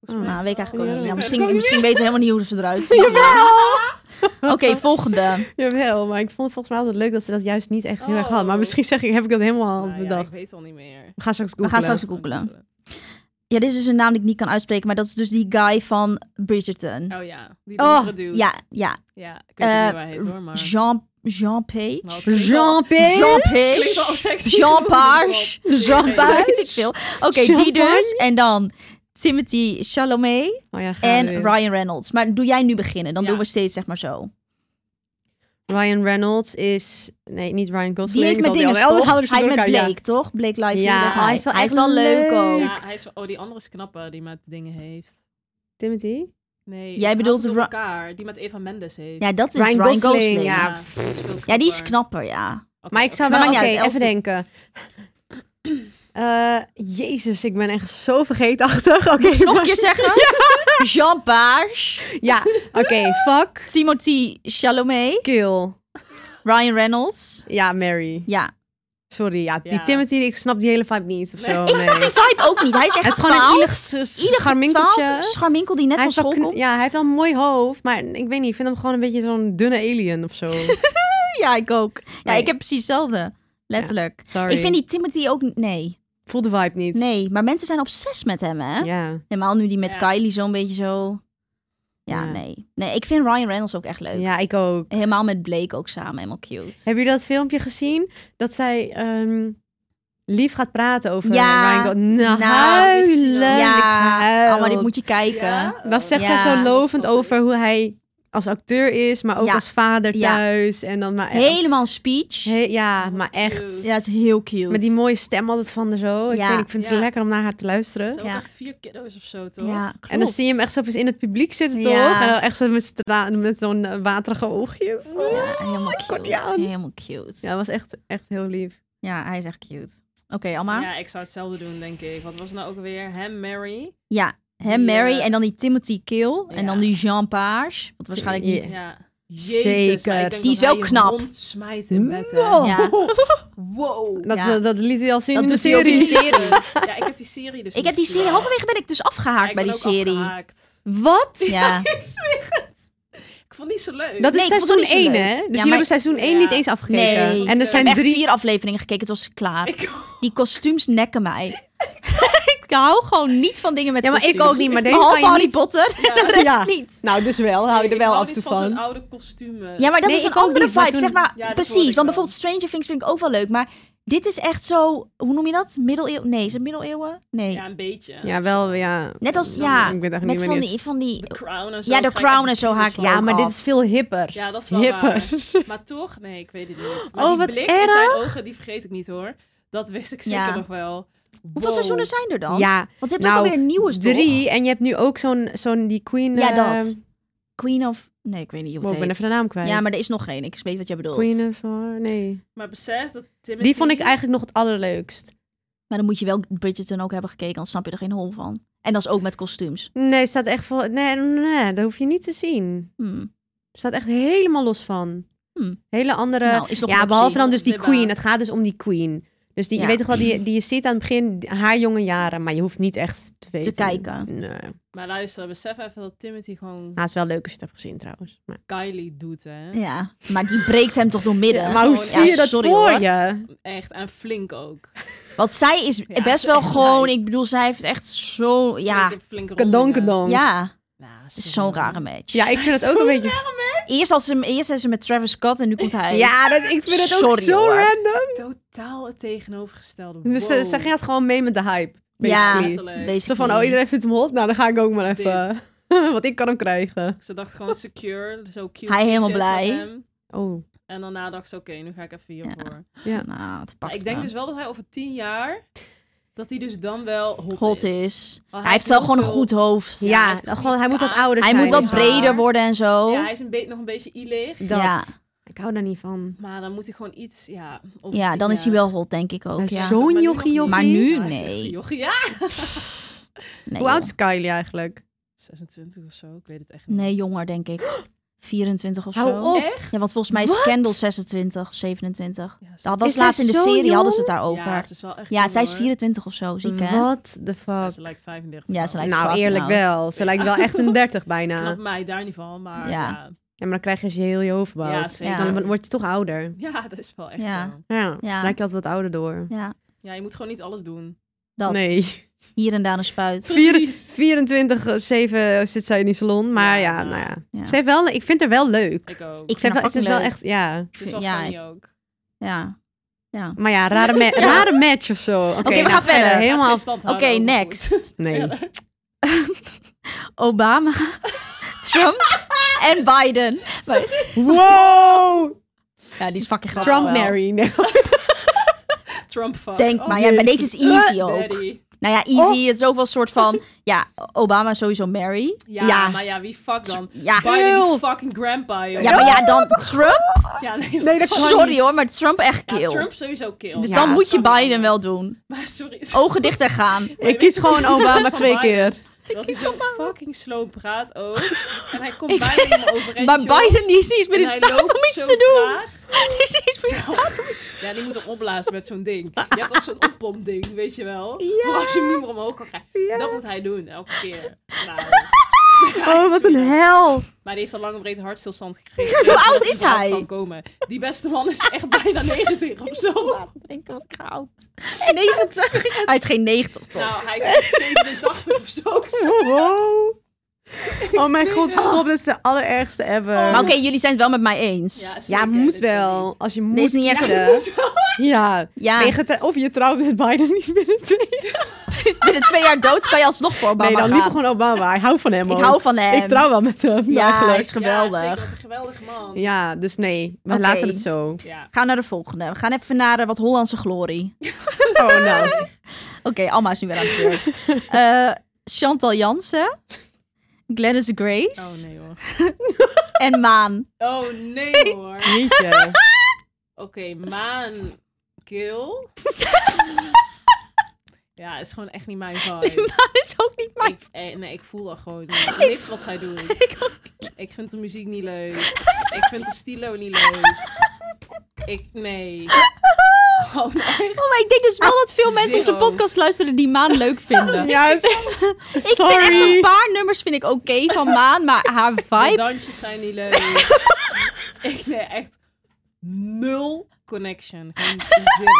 Volgens mij Oh, Nou, weet ik wel. eigenlijk ook Ja, niet. Nou, dat misschien, misschien weten we helemaal niet hoe ze eruit zien. Jawel! Oké, volgende. Jawel, maar ik vond het volgens mij altijd leuk dat ze dat juist niet echt heel erg had. Oh. Maar misschien zeg ik, heb ik dat helemaal Nou ja, bedacht. ik weet het al niet meer. We gaan straks We googlen. gaan straks googlen. Ja, dit is dus een naam die ik niet kan uitspreken, maar dat is dus die guy van Bridgerton. Oh ja, die Oh, donkere dude. Ja, ja. Ja, ik weet niet Eh, hoe hij heet hoor, maar... Jean, Jean Page? Nou, het klinkt al- Jean-Pierre! Jean klinkt al Page? sexy. Jean Page? Jean Ja, Weet ik veel. Oké, Jean die dus. En dan Timothy Chalamet Oh ja, gaan we en weer. Ryan Reynolds. Maar doe jij nu beginnen, dan Ja. doen we steeds zeg maar zo. Ryan Reynolds is... Nee, niet Ryan Gosling. Die heeft met want dingen alle toch? Hij ouders heeft met door Blake, elkaar, ja. toch? Blake Lively. Ja, dat is hij is wel hij is echt wel leuk leuk. ook. Ja, hij is... Oh, die andere is knappe, die met dingen heeft. Timothy? Nee, Jij ik haal bedoelt ze door Ra- elkaar. Die met Eva Mendes heeft. Ja, dat is Ryan Ryan, Gosling, ja. Gosling. Ja. pff. die is veel die is knapper. knapper, ja. Oké, Maar ik zou oké. wel... Maar Oké, maakt niet uit, even Els denken. Eh, jezus, ik ben echt zo vergeetachtig. Oké, Moet je nog een keer zeggen? Jean Page, Ja, oké. fuck, Timothy Chalamet, kill. Ryan Reynolds. Ja, Mary. Ja. Sorry, ja. Die Ja. Timothy, ik snap die hele vibe niet of Nee. zo. Ik Ik snap die vibe ook niet. Hij is echt Het is gewoon een 12. ielig s- s- scharminkeltje. 12 scharminkel die net Hij van is wel school kn- komt. ja, hij heeft wel een mooi hoofd, maar ik weet niet, ik vind hem gewoon een beetje zo'n dunne alien of zo. Ja, ik ook. Ja, Nee. ik heb precies hetzelfde. Letterlijk. Sorry. Ik vind die Timothy ook... n- Nee. Voel de vibe niet. Nee. Maar mensen zijn obsessief met hem, hè? Ja. Helemaal nu die met Ja. Kylie zo'n beetje zo... Ja, Ja. nee. Nee, ik vind Ryan Reynolds ook echt leuk. ja, ik ook. Helemaal met Blake ook samen. Helemaal cute. Hebben jullie dat filmpje gezien? Dat zij ehm, lief gaat praten over Ja. Ryan Gosling. Nou, Nou, huilen. Ik ja. huilen. Oh, maar dit moet je kijken. Oh, Ja? Dan zegt Ja, zij zo dat is lovend wel leuk. over hoe hij als acteur is, maar ook Ja. als vader Ja. thuis. En dan maar Helemaal een speech. He- ja, Wat maar echt. cute. Ja, het is heel cute. Met die mooie stem altijd van de zo. Ik, Ja. weet, ik vind het Ja. zo lekker om naar haar te luisteren. Ze Ja. heeft echt vier kiddo's of zo, toch? Ja, klopt. En dan zie je hem echt zo even in het publiek zitten, toch? Ja. En dan echt zo met, z'n tranen- met zo'n eh, waterige oogjes. Ja, helemaal kon niet cute. aan. Helemaal cute. Ja, dat was echt, echt heel lief. Ja, hij is echt cute. Oké, Alma. Ja, Ja, ik zou hetzelfde doen, denk ik. Wat was het nou ook weer? Hem, Mary. hem, Die, Mary eh, en dan die Timothy Kill. En Ja. dan die Jean Page. Wat waarschijnlijk Ja. niet. Ja. Zeker. maar ik denk Die is dat wel hij knap. Rond smijt in bed. hè. No. Oh. Ja. Wow. Dat, eh, Ja. dat liet hij al zien Dat in de doet hij ook serie. in de serie. ja, ik heb die serie dus Ik heb die serie, halverwege ben ik dus afgehaakt ik bij ben die ook serie. afgehaakt. Wat? Ja. Ik zweer het. Ik vond het niet zo leuk. Dat is Nee, ik seizoen vond het niet 1, zo leuk. hè? Dus jullie maar- hebben seizoen 1 Ja. niet eens afgekeken. Nee. En er Ik Ik zijn heb echt drie... vier afleveringen gekeken, het was klaar. Ik- Die kostuums nekken mij. ik hou gewoon niet van dingen met Ja, maar ik kostuums. ook niet, maar deze kan Behalve je Harry niet- Potter, Ja. de rest Ja. niet. Nou, dus wel. Hou je er Ik wel hou af en toe niet van. van. zo'n oude eh, kostuums. Ja, maar dat Nee, is een ik ook andere niet, maar vibe, toen- zeg maar. Ja, dat hoor precies, ik want wel. bijvoorbeeld Stranger Things vind ik ook wel leuk. Maar dit is echt zo, hoe noem je dat? Middeleeuwen? Nee, is het middeleeuwen? Nee. Ja, een beetje. Ja, wel, ja. Net als, Dan- ja, ik weet echt met niet van wanneer die, van die... De Crown en zo. Ja, de krijg ik Crown echt en zo haak ik kriebels Ja, van. maar ook dit af. is veel hipper. Ja, dat is wel Hipper. waar. Maar toch, nee, ik weet het niet. Maar Oh, die wat blik en erg. zijn ogen, die vergeet ik niet hoor. Dat wist ik zeker Ja. nog wel. Hoeveel seizoenen zijn er dan? Ja, Want je hebt Nou, ook alweer nieuwe drie. En je hebt nu ook zo'n, zo'n die queen... Ja, eh, dat. Queen of... Nee, ik weet niet hoe wow, het ik ben heet. even de naam kwijt. Ja, maar er is nog geen. Ik weet wat jij bedoelt. Queen of... War, Nee. Maar besef dat Timothy... Die vond ik eigenlijk nog het allerleukst. Maar dan moet je wel Bridgerton ook hebben gekeken, anders snap je er geen hol van. En dat is ook met kostuums. Nee, staat echt vol... Nee, nee, dat hoef je niet te zien. Hmm. staat echt helemaal los van. Hmm. Hele andere. Nou, is nog een Eh, ja, behalve optie. dan dus die Dibba. queen. Het gaat dus om die queen. Dus die, Ja. je weet toch wel, die, die je ziet aan het begin die- haar jonge jaren, maar je hoeft niet echt te weten. kijken. Nee. Maar luister, besef even dat Timothy gewoon Nou, het is wel leuk als je het hebt gezien trouwens. Maar, Kylie doet, hè. Ja, maar die breekt hem toch door midden. maar hoe gewoon- zie ja, je dat sorry, voor hoor. je? Echt, en flink ook. Want zij is Ja, best ze wel is gewoon... lijp. Ik bedoel, zij heeft echt zo... Ja, Flinke, flinke Kadonk, rondingen. kadonk. Ja, ja. Nou, Het is zo'n rare match. ik vind het ook een beetje. Eerst, had ze, hem- eerst heeft ze met Travis Scott en nu komt hij. Ja, dat, ik vind het ook Sorry, zo hoor. random. Totaal het tegenovergestelde. Dus ze, Wow. ze gaat gewoon mee met de hype. Ja. Basically. Letterlijk. Zo van, oh, iedereen vindt hem hot. Nou, dan ga ik ook maar Dit. even. Want ik kan hem krijgen. Ze dacht gewoon secure, zo cute. Hij helemaal pictures met blij. hem. Oh, En daarna dacht ze, oké, nu ga ik even hiervoor. Nou, het Maar pakt ik denk me. dus wel dat hij over tien jaar Dat hij dus dan wel hot, Hot is. is. Al Hij heeft wel heel gewoon een veel- goed hoofd. Ja, Ja, hij heeft toch gewoon, hij die moet wat kaak. ouder Hij zijn. dus, eh, moet wel wat is waar. breder worden en zo. Ja, hij is een be- nog een beetje ilig. Dat. Ja. Ik hou daar niet van. Maar dan moet hij gewoon iets, ja... of Ja, het- dan is hij wel hot, denk ik ook. Hij is Ja. zo- Zo'n Maar nu jochie, nog niet. jochie. Maar nu, Ja, hij is echt nee. een jochie, ja. Nee, Hoe oud joh. is Kylie eigenlijk? 26 of zo, ik weet het echt niet. Nee, Oh. jonger, denk ik. 24 of zo. Hou op. Echt? Ja, want volgens mij is Kendall 26 of 27. Ja, ze- Dat was Is zij laatst in de zo serie, hadden ze het Ja, daarover. ze is wel echt Ja, jong, zij is hoor. 24 of zo, ziek hè? What the Ja, fuck? ze lijkt 35. Ja, ze wel. lijkt nou, fucking eerlijk oud. wel. Ze lijkt wel echt een 30 bijna. Knap mij daar niet van, maar Ja. ja. Ja, maar dan krijg je als je heel je hoofd bouwt. Ja, zeker. Ja. Dan word je toch ouder. Ja, dat is wel echt Ja. zo. Ja, Ja. lijkt je altijd wat ouder door. Ja, Ja, je moet gewoon niet alles doen. dat. Nee. Hier en daar een spuit. Vier- Precies. 24-7 zit zij in die salon. Maar ja, Ja, nou ja. ja. Ze heeft wel, ik vind haar wel leuk. Ik ook. Ik Ze vind heeft haar wel- ze is Nou, fucking wel leuk. echt, ja. het is wel ja, funny ook. Ja. ja. Maar ja, rare, ma- rare match of zo. Oké, we nou, gaan verder. Helemaal. Oké, next. Nee. Obama, Trump en Biden. Maar- Wow! ja, die is fucking grappig Trump wel. Mary. Nee. Trump fuck. Denk Oh, maar, ja, maar deze is easy ook. daddy. Nou ja, easy, Oh. het is ook wel een soort van... Ja, Obama is sowieso Mary. Ja, Ja. maar ja, wie fuck dan? Ja, Biden, Heel. die fucking grandpa, joh. ja maar ja, dan Trump. Ja, nee, dat kan Sorry hoor, maar Trump echt Ja, kill. Trump sowieso kill. Dus Ja, dan dat moet je kan Biden niet. wel Oh. doen. Maar sorry, Ogen dicht en gaan. Ik kies gewoon Obama Van twee Biden. keer. dat hij zo fucking slow praat ook. En hij komt bijna in me overeen. Maar Biden die is niet eens meer in staat om iets te doen. Die is niet eens meer in staat om iets Ja, die moet hem opblazen met zo'n ding. Je hebt ook zo'n oppompding, weet je wel. Voor als je hem niet meer omhoog kan krijgen. Dat moet hij doen, elke keer. Nou. Ja, Oh, wat sorry. een hel. Maar die heeft al lang een breed hartstilstand gekregen. Hoe oud Dat is überhaupt hij? kan komen. Die beste man is echt bijna 90 of zo. denken. Wat goud. Hij is geen 90 toch? Nou, hij is echt 87 of zo. Ik zweer Wow. Oh mijn zweer god, het. stop. Dat is de allerergste ever. Maar oké, jullie zijn het wel met mij eens. Ja, ja, zeker, moet dit kan wel. niet. Als je is moet niet echt Ah. kiezen. Ja. Nee, je gaat- of je trouwt met Biden niet binnen twee jaar. dus binnen twee jaar dood kan je alsnog voor Obama Nee, dan gaan. liever gewoon Obama. Ik hou van hem Ik ook. hou van hem. Ik trouw wel met hem Ja, hij eigenlijk. is geweldig. Ja, zeker, wat een geweldige man. Ja. Ja, dus nee. We Oké. laten het zo. Gaan naar de volgende. We gaan even naar eh, wat Hollandse glorie. Oh nou. Oké, Alma is nu weer aan de beurt. Eh, Chantal Jansen. Glennis Grace. Oh nee hoor. En Maan. Oh nee hoor. Oké, Jeetje. maan. Kill. Ja, is gewoon echt niet mijn vibe. Maan is ook niet mijn... Ik, eh, nee, ik voel al gewoon niks wat zij doet. Ik ook Ik vind de muziek niet leuk. Ik vind de stilo niet leuk. Ik, nee. Gewoon echt. Oh, maar ik denk dus Ah, wel dat veel mensen onze Zero. podcast luisteren die Maan leuk vinden. Ja, Ik vind echt sorry. een paar nummers vind ik oké van Maan, maar haar De vibe... dansjes zijn niet leuk. Ik, nee, echt nul connection. Gewoon zero.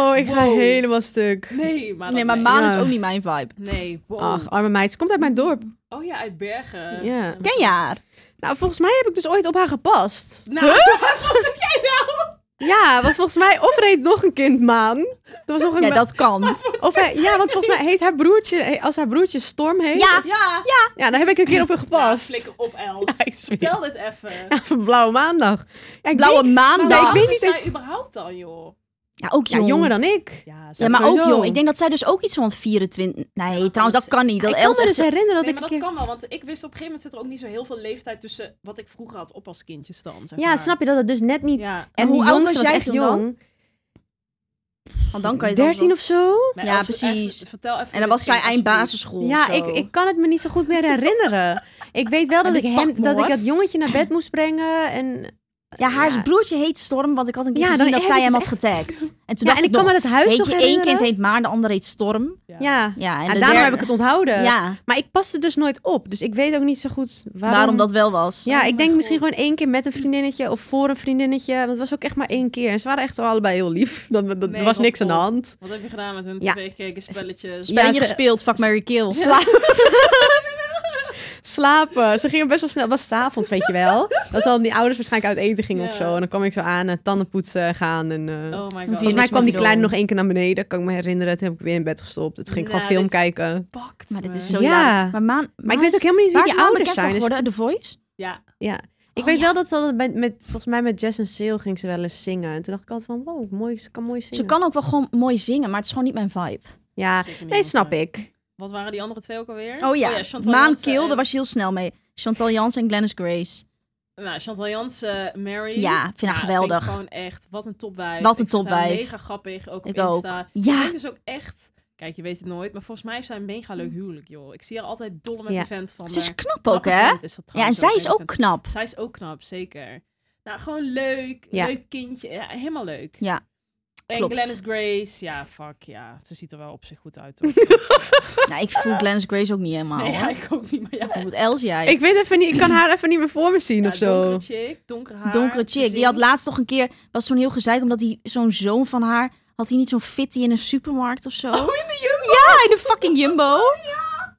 Oh, ik ga Wow. helemaal stuk. Nee, maar, dat Nee, maar nee. Maan is Ja. ook niet mijn vibe. Nee, wow. Ach, arme meid. Ze komt uit mijn dorp. Oh ja, uit Bergen. Ja. Ken je haar? Nou, volgens mij heb ik dus ooit op haar gepast. Nou, wat zeg jij nou? Ja, was volgens mij. Of reed nog een kind maan. Dat was nog een. Ja, dat kan. of hij- ja, want volgens mij heet haar broertje. he- Als haar broertje Storm heet. Ja, Ja. ja dan heb ik een keer op hem gepast. Slikker op, Els. Ja, ik zweer. Vertel dit even. Blauwe maandag. Ja, ik Blauwe denk- Maar Nee, ik Maandag. weet wat niet is zij eens- überhaupt dan, joh? Ja, ook Ja, jong. jonger dan ik. Ja, Ja, ze- maar sowieso. ook jong. Ik denk dat zij dus ook iets van 24... Nee, trouwens, dat kan niet. Dat ik kan Els me echt dus herinneren dat nee, ik maar een dat keer... kan wel, want ik wist op een gegeven moment zit er ook niet zo heel veel leeftijd tussen wat ik vroeger had op als kindjes dan. Zeg Ja, maar. snap je dat het dus net niet... Ja, En hoe die oud jongste was was jij echt toen dan? jong. Want dan kan je 13 of zo? Maar Ja, Els, even- precies. vertel even. En dan was zij eind basisschool. Ja, of ik, zo. ik kan het me niet zo goed meer herinneren. Ik weet wel Maar dat ik, dit pakt hem, me, dat ik hoor. dat jongetje naar bed moest brengen. En, Ja, haar Ja. broertje heet Storm, want ik had een keer Ja, gezien dan dat heb zij ik hem had dus getagd. ja, En toen en dacht ik ik kan me nog, het huis weet nog je, één kind herinneren. heet Maan, de andere heet Storm. Ja, Ja, en, en de daarom heb derde- ik het eh, onthouden. Ja, Maar ik paste dus nooit op. Dus ik weet ook niet zo goed waarom, waarom, dat wel was. Ja, Oh ik denk mijn misschien God. gewoon één keer met een vriendinnetje of voor een vriendinnetje. Want het was ook echt maar één keer. En ze waren echt allebei heel lief. Dat, dat Nee, was wat niks aan de cool. hand. Wat heb je gedaan met hun Ja. tv gekeken, spelletjes? Spe- Spelletje Ja, ze- gespeeld, fuck Mary Kill. Slapen. Ze gingen best wel snel. Het was s'avonds, weet je wel. Dat dan die ouders waarschijnlijk uit eten gingen of Ja. zo. En dan kwam ik zo aan, eh, tanden poetsen gaan. En, eh, oh my god. Volgens Volgens mij niks kwam met die te kleine doen. nog één keer naar beneden. Kan ik me herinneren. Toen heb ik weer in bed gestopt. Het ging ik gewoon Nou, film dit- kijken. Pakt Maar dit me. is zo Ja. ja. Maar, Maan, Maar ik weet ook helemaal niet wie die ouders zijn. Dus De Voice? Ja, Ja. Ik Oh, weet ja. wel dat ze altijd bij- met, volgens mij met Jess en Sale ging ze wel eens zingen. En toen dacht ik altijd van, wow, mooi, ze kan mooi zingen. Ze kan ook wel gewoon mooi zingen, maar het is gewoon niet mijn vibe. Ja, Zeker niet nee, snap ontgaan. ik. Wat waren die andere twee ook alweer? Oh ja, Chantal Maan Jansen eh. Kiel, en- daar was je heel snel mee. Chantal Jans en Glennis Grace. Nou, Chantal Jansen, Mary. Nou, Ja, vind haar geweldig. ik gewoon echt, wat een topwijf. Wat een Ik vind haar topwijf. Mega grappig, ook op Ik ook. Insta. Ik Ja, denk dus ook echt... Kijk, je weet het nooit, maar volgens mij is zij een mega leuk huwelijk, joh. Ik zie haar altijd dolle met Ja. die vent van... Mm. ze is haar. knap ook, Knappe hè? vent dat Ja, en trouwens zij is mega ook vent. knap. Zij is ook knap, zeker. Nou, gewoon leuk. Ja. Leuk kindje. Ja, helemaal leuk. Ja, En klopt. Glennis Grace, ja, fuck, ja. Ze ziet er wel op zich goed uit, hoor. Nou, ik voel Glennis Grace ook niet helemaal. nee, Nee, ja, ik ook niet, maar ja. Wat Els jij? Ik weet even niet, ik kan haar even niet meer voor me zien Ja, of zo. Donkere chick, donker haar. Donkere ze chick. Die zingt. had laatst toch een keer, was zo'n heel gezeik, omdat hij zo'n zoon van haar, had hij niet zo'n fitty in een supermarkt of zo? in de jumbo. Ja, in de fucking Jumbo.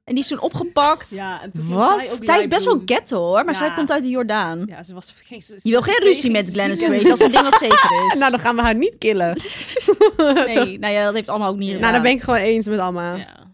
En die is toen opgepakt. Oh, Ja, en toen ging Wat? Zij, ook Zij is live best doen. wel ghetto hoor, maar Ja. zij komt uit de Jordaan. Ja, ze was geen... ze- Je wil ze- geen ze ruzie ging met ze Glennis zien. Grace als een ding wat zeker is. Nou, dan gaan we haar niet killen. nee, nou ja, dat heeft allemaal ook niet. Nou, gedaan. Nou, dan ben ik gewoon eens met Alma. Ja.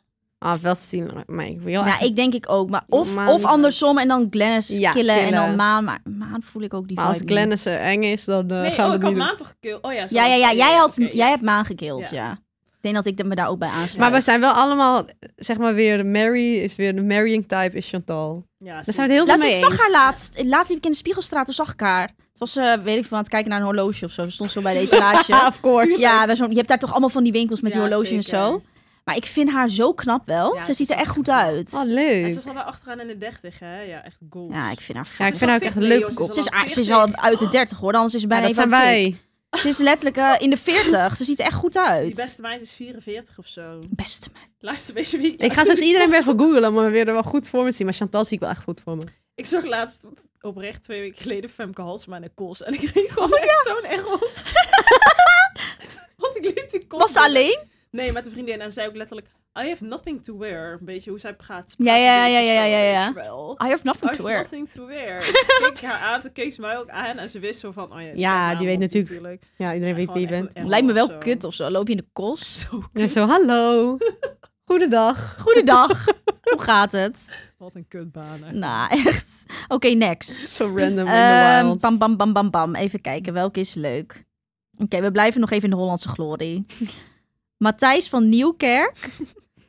Ah, wel zien, maar ik wil echt- Nou, ik denk ik ook. Maar wil of, Maan of niet. andersom en dan Glennis Ja, killen, en killen. dan Maan. Maar Maan voel ik ook die Maar als vibe niet. Glennis eh, eng is, dan eh, Nee, gaan oh, we het niet ik had doen. Maan toch gekild? Oh ja, zo Ja, was ja, ja, het. jij, had, Oké, ja. jij hebt Maan gekild, Ja. ja. Ik denk dat ik me daar ook bij aansluit. Maar we zijn wel allemaal, zeg maar weer, Mary is weer, de marrying type is Chantal. Ja, Daar zijn we het heel veel Luister, mee ik zag eens. haar laatst. Laatst liep ik in de Spiegelstraat, toen zag ik haar. Het was, eh, weet ik veel, aan het kijken naar een horloge of zo. Ze stond zo bij de Ja, etalage. of course. ja, bij zo'n- je hebt daar toch allemaal van die winkels met die Ja, horloge en zeker. zo. Maar ik vind haar zo knap wel. Ja, ze ze ziet er is echt echt goed knap. uit. Oh, leuk. En ze Ja, zat wel achteraan in de 30, hè? Ja, echt goals. Ja, ik vind haar ik vind fucking- haar ook echt een leuke Ze kop. is ze, is, al a- ze is 40. al uit de 30 hoor, anders is ze bijna dat even zijn aan het wij. ziek. Ze is letterlijk eh, in de 40. Ze ziet er echt goed Die uit. beste meid is 44 of zo. Beste meid. Luister, weet je wie? Ik ga straks iedereen weer even googlen om er weer wel goed voor me te zien. Maar Chantal zie ik wel echt goed voor me. Ik zag laatst oprecht twee weken geleden Femke Halsma naar Kools. En ik kreeg gewoon Oh echt zo'n error. Want ik liep die Kools. Was ze alleen? Nee, met een vriendin. En zij ook letterlijk... I have nothing to wear. Een beetje hoe zij praat. Ja, ja, ja, praat ja, ja, zo, ja, ja. weet je wel. I have nothing I to have wear. nothing to wear. Ik keek haar aan, toen keek ze mij ook aan. En ze wist zo van... Oh ja, Ja, ken haar die weet man natuurlijk Ja, iedereen weet wie je Gewoon bent. echt een Lijkt me error wel kut of zo. Loop je in de kost? Zo Ja, zo, hallo. Goedendag. Goedendag. Hoe gaat het? Wat een kutbaan. hè. Nou, echt. Oké, next. Zo random in the Ehm, wild. bam, bam, bam, bam, bam. Even kijken, welke is leuk? Oké, we blijven nog even in de Hollandse glorie. Matthijs van Nieuwkerk,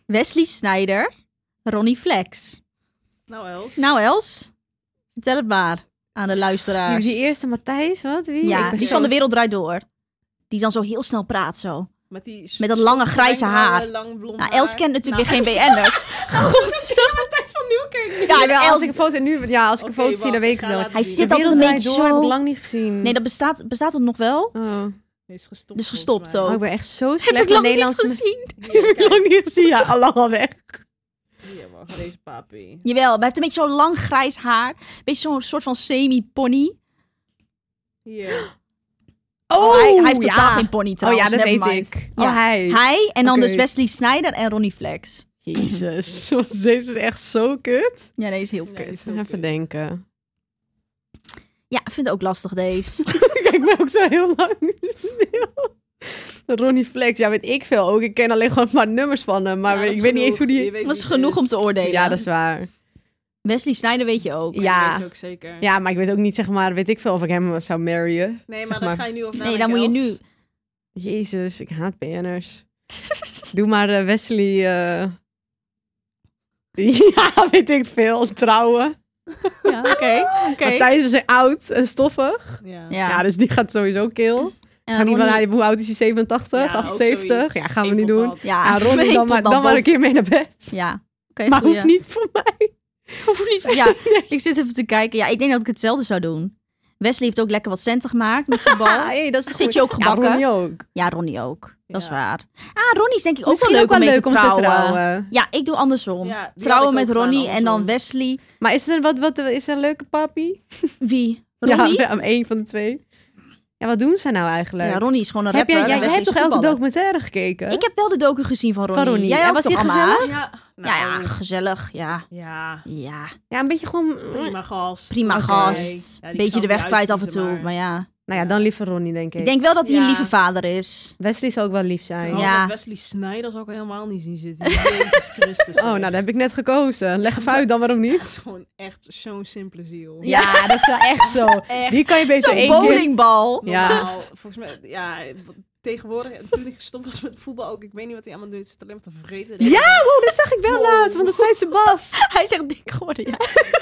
Wesley Snijder, Ronnie Flex. Nou, Els. Nou, Els, vertel het maar aan de luisteraars. Die eerste Matthijs, wat? Wie? Ik Ja, ben die zo- van de wereld draait door. Die dan zo heel snel praat zo. Met, die s- Met dat lange grijze wenkbrauwen, haar. Lang blond Nou, Els eh, haar. kent natuurlijk weer geen BN'ers. Matthijs van Nieuwkerk. Ja, Ja, en wel, als Els... ik een foto nu, ja, als ik Oké, een foto zie, wacht, dan weet ik ik ga het wel. laten Hij zien. zit De altijd een Wereld beetje Draait Door heb zo... ik lang niet gezien. Nee, dat bestaat, bestaat dat nog wel? Oh. Nee, is gestopt. Dus gestopt zo. Oh, ik ben echt zo Heb ik slecht in lang niet Nederlands. gezien. Heb ik lang niet gezien. Ja, al lang al weg. Oh Hier, man, deze papi. Jawel, maar hij heeft een beetje zo'n lang grijs haar. Beetje zo'n soort van semi-pony. Hier. Oh, hij, hij heeft totaal geen pony Oh trouwens. ja, dat weet never mind. ik. Ja. Oh, hij. Hij en dan Oké. dus Wesley Snyder en Ronnie Flex. Jezus, want deze is dus echt zo kut. Ja, deze is heel Nee, kut. die is heel Even kut. denken. Ja, ik vind het ook lastig deze. Kijk, ik ben ook zo heel lang stil. Ronnie Flex, ja, weet ik veel ook. Ik ken alleen gewoon maar nummers van hem, maar Ja, ik dat weet is niet eens hoe genoeg. die... Je weet Dat is wie genoeg om te oordelen. dus- Ja, dat is waar. Wesley Snyder weet je ook. Maar Ja. deze ook zeker. Ja, maar ik weet ook niet, zeg maar, weet ik veel of ik hem zou marryen. Nee, Zeg maar dan maar. ga je nu over Nee, dan moet je nu... Jezus, ik haat BN'ers. Doe maar eh, Wesley. eh, ja, weet ik veel. Trouwen. Ja, oké. oké. Matthijs is oud en stoffig. Ja. Ja. Ja, dus die gaat sowieso kill. en Ga niet Ronnie- van, nou, hoe oud is hij? 87, Ja, ook 78? zoiets. Ja, gaan we niet doen. Enkelpad. Ja, Ah, Ronnie, dan, maar, dan maar een keer mee naar bed. Ja, oké. Maar goeie. hoeft niet voor mij. Hoeft niet. Ja, ik zit even te kijken. Ja, ik denk dat ik hetzelfde zou doen. Wesley heeft ook lekker wat centen gemaakt met voetbal. hey, dat Zit je ook gebakken? Ja, Ronnie ook. Ja, Ronnie ook. Dat is Ja. waar. Ah, Ronnie is denk ik ook Misschien wel leuk om mee te trouwen. trouwen. Ja, ik doe andersom. Ja, die had trouwen ik met ook gedaan, Ronnie en dan andersom. Wesley. Maar is er, wat, wat, is er een leuke papi? Wie? Ronnie? Ja, Ja, aan één van de twee. Ja, wat doen ze nou eigenlijk? Ronnie is gewoon een Heb rapper. jij, jij, jij en Wesley hebt is toch elke voetballer. documentaire gekeken? Ik heb wel de docu gezien van Ronnie. Van Ronnie. Jij En ook was toch, die Amma? gezellig? Ja. Nou, Ja, ja, gezellig. Ja, ja. ja. Ja, een beetje gewoon... Prima gast. prima Oké. gast. Ja, die Beetje zal de weg niet kwijt af en toe. uitkiezen, Maar, ja, Nou ja, dan liever Ronnie, denk ik. ik denk wel dat hij een Ja. lieve vader is. Wesley zou ook wel lief zijn. Terwijl Oh, Ja. Oh, dat Wesley Snyder zou ik helemaal niet zien zitten. Jezus Christus. Oh, nou, dat heb ik net gekozen. Leg even uit, dan waarom niet? Dat is gewoon echt zo'n simpele ziel. Ja. dat is wel echt zo. Echt. Hier kan je beter Zo'n één kind- bowlingbal. Ja. Normaal, volgens mij, ja, tegenwoordig, en toen ik gestopt was met voetbal ook, ik weet niet wat hij allemaal doet, zit alleen maar te vreten. Ja, wow, dat zag ik wel Wow. laatst, want dat zei ze Bas. Hij is echt dik geworden, ja.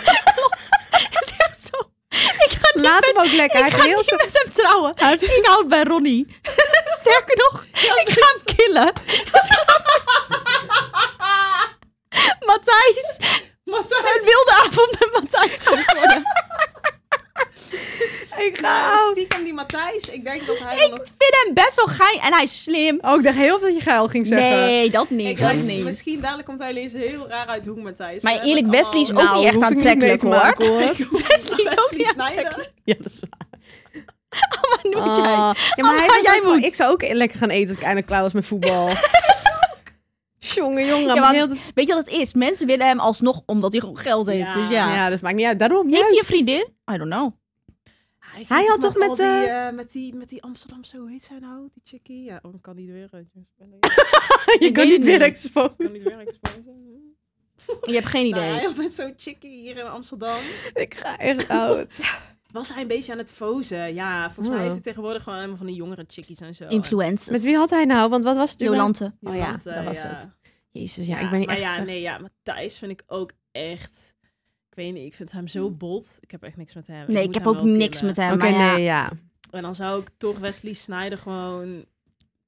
Klopt. Hij is echt zo. Ik ga niet Laat met, hem ook lekker. Hij ik ga heeft heel niet zo... met hem trouwen. Ik hou bij Ronnie. Sterker nog, ik ga hem killen. Dat is klaar. Matthijs, een Matthijs, wilde avond met Matthijs gaat worden. Ik nou, ga... stiekem die Matthijs, ik denk dat hij wel Ik nog... vind hem best wel gein en hij is slim. Oh, ik dacht heel veel dat je geil ging zeggen. Nee, dat niet. Ik dat denk, niet. Misschien dadelijk komt hij ineens heel raar uit de hoek, Matthijs. Maar We eerlijk, hebben het Wesley is allemaal- ook niet echt Nou, hoef ik niet mee aantrekkelijk te hoor. maken, hoor. Wesley is ook Wesley niet Sneijder. aantrekkelijk. Ja, dat is waar. Maar nu moet jij. Ah. Ja, maar hij maar was jij ook wel- moet. Ik zou ook lekker gaan eten als ik eindelijk klaar was met voetbal. jongen, jongen. Ja, maar maar heel de- Weet je wat het is? Mensen willen hem alsnog omdat hij gewoon geld heeft. Ja. Dus ja. ja. dat maakt niet uit. Daarom, Heeft hij juist. een vriendin? I don't know. Hij, Hij ging had toch met, al die, eh, eh, met, die, met die Amsterdamse, hoe heet zij nou? Die chickie? Ja, oh, ik kan niet weer... eh, Je kan Ik weet niet het weer niet. ik kan exposen. niet weer exposen. Je hebt geen idee. Nou, hij had met zo'n chickie hier in Amsterdam. Ik ga echt oud. Was hij een beetje aan het fozen. Ja, volgens mij Oh. heeft hij tegenwoordig gewoon helemaal van die jongere chickies en zo. Influencers. Met wie had hij nou? Want wat was het? überhaupt? Jolante. Die Oh ja, zat, eh, dat was het. Jezus, ja, ik ben niet maar echt ja, zo- nee, ja, Matthijs vind ik ook echt... Ik weet niet, ik vind hem Hmm. zo bot. Ik heb echt niks met hem. Nee, ik moet heb hem ook wel niks killen. met hem. Oké, maar ja. nee, ja. En dan zou ik toch Wesley Snyder gewoon...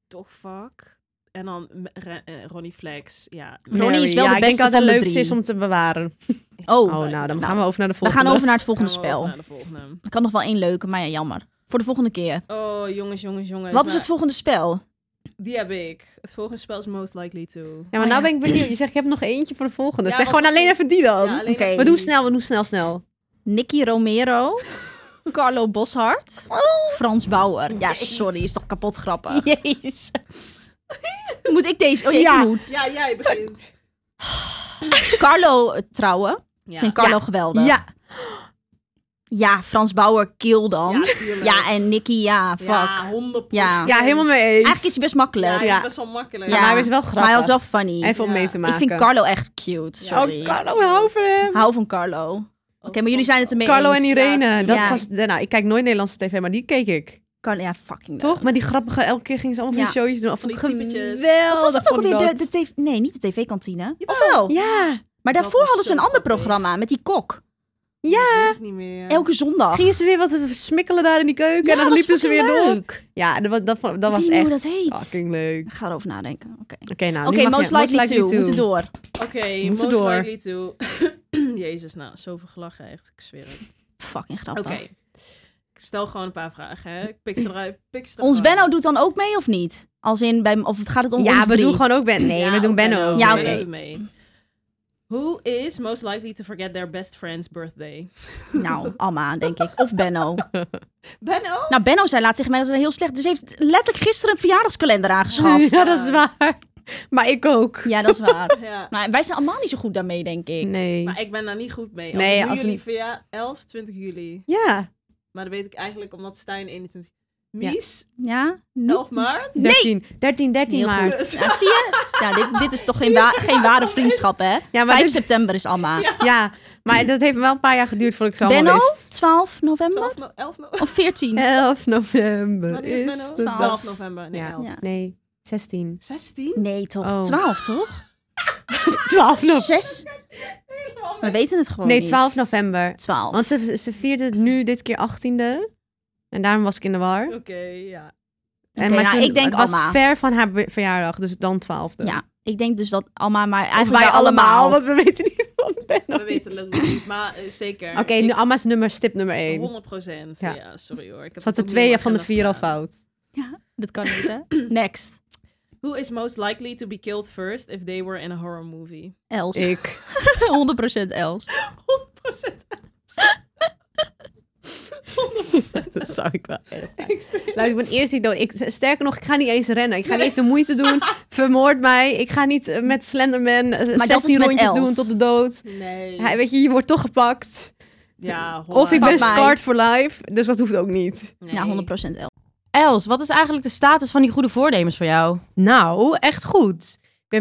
Toch fuck. En dan m- Re- eh, Ronnie Flex. Ja. Ronnie Mary. is wel ja, de ik denk beste dat het van de leukste drie. is om te bewaren. Oh, Oh, nou, dan Nou, gaan we over naar de we volgende. gaan over naar het volgende Gaan we over spel. naar de volgende. Ik kan nog wel één leuke, maar ja, jammer. Voor de volgende keer. Oh, jongens, jongens, jongens. Wat is Maar het volgende spel? Die heb ik. Het volgende spel is Most Likely To. Ja, maar Oh, nou ja. ben ik benieuwd. Je zegt, ik heb nog eentje voor de volgende. zeg Ja, want gewoon als alleen je- even die dan. Ja, alleen Oké. even Maar die. doe snel, we doen snel, snel. Nicky Romero, Carlo Boshart, Oh. Frans Bauer. Ja, sorry, is toch kapot grappig. Jezus. Moet ik deze? Oh ja, ik Ja. moet. Ja, jij begint. Carlo eh, trouwen. Ja. Ik vind Carlo geweldig. Ja. Ja, Frans Bauer, kill dan. Ja, Ja, tuurlijk. en Nicky, ja, fuck. Ja, 100%. Ja. ja, helemaal mee eens. Eigenlijk is hij best makkelijk. Ja, Ja. best wel makkelijk. Ja, maar hij is wel Maar hij grappig. was wel funny. Even om Ja. mee te ik maken. vind Carlo echt cute, sorry. Oh, Carlo, we houden van hem. Hou van Carlo. Oké, maar jullie zijn het ermee Carlo eens. en Irene. Ja, dat tuurlijk. was, nou, ik kijk nooit Nederlandse tv, maar die keek ik. Carlo, ja, fucking Toch? Maar die grappige, elke keer gingen ze allemaal van die showjes doen. Van Van die die typetjes. Wat geweldig. was dat ook vond ik alweer? De, dat. de tv... Nee, niet de tv-kantine. Ofwel? Ja. Maar Dat daarvoor was hadden ze zo een ander grappig. programma met die kok. Ja. niet meer. Elke zondag. Gingen ze weer wat smikkelen daar in die keuken en dan dat liepen was ze weer fucking door. leuk. Ja, dat, wa- dat, vond- dat Ik was weet niet hoe echt dat heet. fucking leuk. Ik ga erover nadenken. Oké, Oké, nou, Oké, nu mag most, je- likely to. We moeten door. Oké, We most moeten door. likely to. Jezus, nou, zoveel gelachen echt. Ik zweer het. Fucking Oké. grappig. Ik stel gewoon een paar vragen, hè. Ik pik ze eruit. Pik ze Ons eruit. Benno doet dan ook mee of niet? Als in, bij, of het gaat het om Ja, ons we drie? doen gewoon ook Ben. Nee, Ja, we doen Benno ook. mee. Ja, oké. Benno doet mee. Who is most likely to forget their best friend's birthday? Nou, Alma, denk ik. Of Benno. Benno? nou, Benno zei laat zich mij dat is heel slecht. Dus ze heeft letterlijk gisteren een verjaardagskalender aangeschaft. Ja, dat is waar. Maar ik ook. ja, dat is waar. Ja. Maar wij zijn allemaal niet zo goed daarmee, denk ik. Nee. Maar ik ben daar niet goed mee. Als Nee, nee, als als we jullie niet- via Els 20 juli. Ja, Maar dat weet ik eigenlijk omdat Stijn 21. Mies, Ja? Nope. 11 maart. 13. 13, 13 Heel maart. goed. Ja, zie je? Ja, dit, dit is toch geen, wa- geen ware vriendschap, hè? Ja, maar 5 dit- september is Alma. Ja, maar dat heeft wel een paar jaar geduurd voordat ik ze allemaal Benno, wist. 12 november? 12 no 11 no Of 14? 11 november Wanneer is is Benno? de 12, dag. november. Nee, Ja. 11. Ja. Nee, 16. 16? Nee, toch? Oh. 12, toch? 12 november. 6? We weten het gewoon Nee, niet. 12 november. 12. Want ze, ze vierde het nu dit keer 18e. En daarom was ik in de war. Oké, ja. En Oké, nou, ik denk het was Alma. ver van haar be- verjaardag, dus dan 12e. Ja, ik denk dus dat Alma, maar Of eigenlijk wij wij allemaal, want we weten niet van Benno. We weten het nog niet, maar eh, zeker. Oké, nu Alma's nummer, stip nummer 1. 100 procent. Ja. Ja. sorry hoor. Ik heb Zat het er ook niet twee in van de mijn vier al agenda staan. fout. Dat kan niet, hè? Next. Who is most likely to be killed first if they were in a horror movie? Els. Ik. 100% Els. 100 procent. 100 Dat zou ik wel echt zijn. Ik zweer het. Luister, ik ben eerst niet dood. Ik, sterker nog, ik ga niet eens rennen. Ik ga niet eens de moeite doen. Vermoord mij. Ik ga niet eh, met Slenderman eh, dat 16 is met rondjes Els. doen tot de dood. Nee. Hij, weet je, je wordt toch gepakt. Ja, Of ik ben Pak mij. scarred for life. Dus dat hoeft ook niet. Nee. Ja, 100% Els. Els, wat is eigenlijk de status van die goede voornemens voor jou? Nou, echt goed. Ik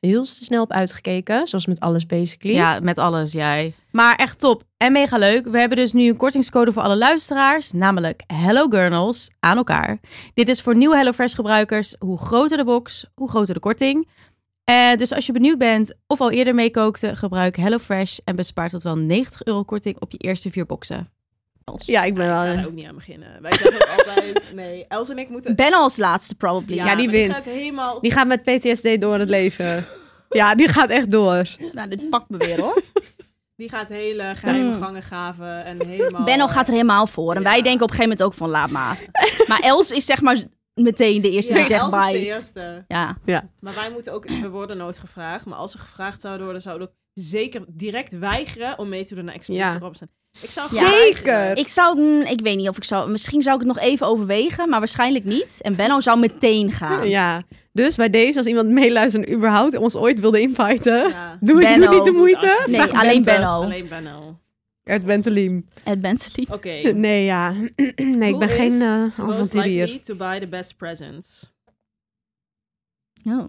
heel snel op uitgekeken. Zoals met alles basically. Ja, met alles, jij. Maar echt top en mega leuk. We hebben dus nu een kortingscode voor alle luisteraars, namelijk Hello Gurnals aan elkaar. Dit is voor nieuwe HelloFresh gebruikers. Hoe groter de box, hoe groter de korting. Eh, dus als je benieuwd bent of al eerder meekookte, gebruik HelloFresh en bespaart tot wel 90 euro korting op je eerste vier boxen. Ja, ik ben Ik ga daar ook niet aan beginnen. Wij zeggen ook altijd, nee, Els en ik moeten... Ben als laatste, probably. die maar wint. gaat helemaal... Die gaat met PTSD door het leven. Ja, die gaat echt door. Nou, dit pakt me weer hoor. Die gaat hele geheime Mm. gangen gaven en helemaal... Benno gaat er helemaal voor. En Ja. wij denken op een gegeven moment ook van laat maar. Maar Els is zeg maar meteen de eerste die Ja, Els zegt is de bye. eerste. Ja. Maar wij moeten ook... We worden nooit gevraagd. Maar als ze gevraagd zouden worden, zouden we ook zeker direct weigeren om mee te doen naar Expeditie Ja. Robinson. Ik zou Ja. graag Zeker. Ik zou, mm, ik weet niet of ik zou, misschien zou ik het nog even overwegen, maar waarschijnlijk niet. En Benno zou meteen gaan. Ja. Dus bij deze, als iemand meeluistert en überhaupt ons ooit wilde inviten, Ja. doe, doe Benno. niet de moeite. Alsjeblieft. Nee, Vraag alleen Bente. Benno. Alleen Benno. Het Benteliem. Het Bentley. Oké. Nee, ja. Nee, ik Who ben geen is eh Most avonturier. likely to buy the best presents. Oh.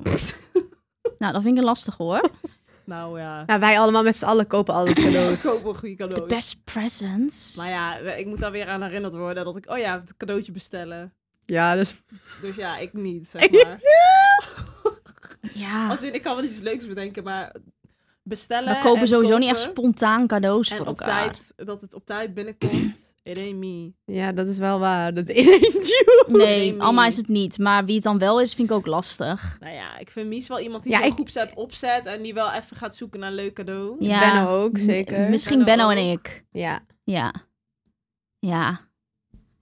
nou, dat vind ik lastig hoor. Nou ja. Nou, wij allemaal met z'n allen kopen alle Ik koop cadeaus. wel goede The cadeaus. best presents. Maar ja, we- ik moet daar weer aan herinnerd worden dat ik, oh ja, het cadeautje bestellen. ja, dus... Dus ja, ik niet, zeg maar. Ja. Als in, ik kan wel iets leuks bedenken, maar bestellen. We kopen en sowieso niet echt kopen spontaan cadeaus En voor op elkaar. tijd, dat het op tijd binnenkomt. It ain't me. Ja, dat is wel waar. Dat ain't you. Nee, Nee, nee. Alma is het niet. Maar wie het dan wel is, vind ik ook lastig. Nou ja, ik vind Mies wel iemand die Ja, ja, een ik- groepsapp opzet en die wel even gaat zoeken naar een leuk cadeau. Ja. Benno ook, zeker. M- Misschien Benno, Benno en ik. Ja. Ja. Ja.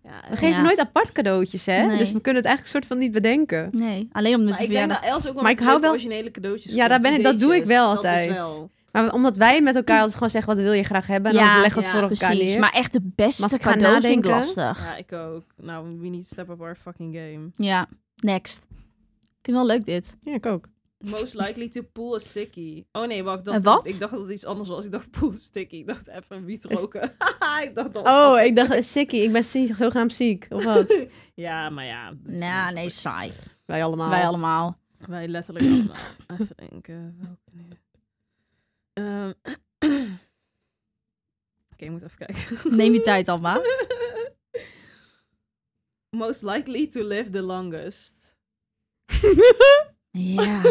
Ja, We en- geven Ja. nooit apart cadeautjes, hè? Nee. Dus we kunnen het eigenlijk soort van niet bedenken. Nee. Alleen om het Maar ik denk dat Els ook wel Maar met ik hou leuke wel- originele cadeautjes Ja, daar komt, ben ik- dat doe ik ideetjes, wel dat is altijd. wel. Maar omdat wij met elkaar altijd gewoon zeggen, wat wil je graag hebben? En Ja, dan leggen we het ja, voor elkaar Precies. neer. Maar echt de Maar beste als ik ga cadeaus vind ik nadenken- lastig. Ja, ik ook. Nou, we need to step up our fucking game. Ja. Next. Ik vind het wel leuk dit. Ja, ik ook. Most likely to pull a sickie. Oh nee, wacht. Dat, Een wat? Ik dacht dat het iets anders was. Ik dacht pull a sickie. Ik dacht even wiet Is- roken. ik dacht dat was Oh, wat. ik dacht, eh, sikkie, ik ben ziek, zogenaamd ziek. Of wat? Ja, maar ja. dat is Nou, niet nee, goed. saai. wij allemaal. Wij allemaal. Wij letterlijk allemaal. Even denken. Welke nu? Ehm, Oké, ik moet even kijken. Neem je tijd, Alma. Ah? Most likely to live the longest. Ja.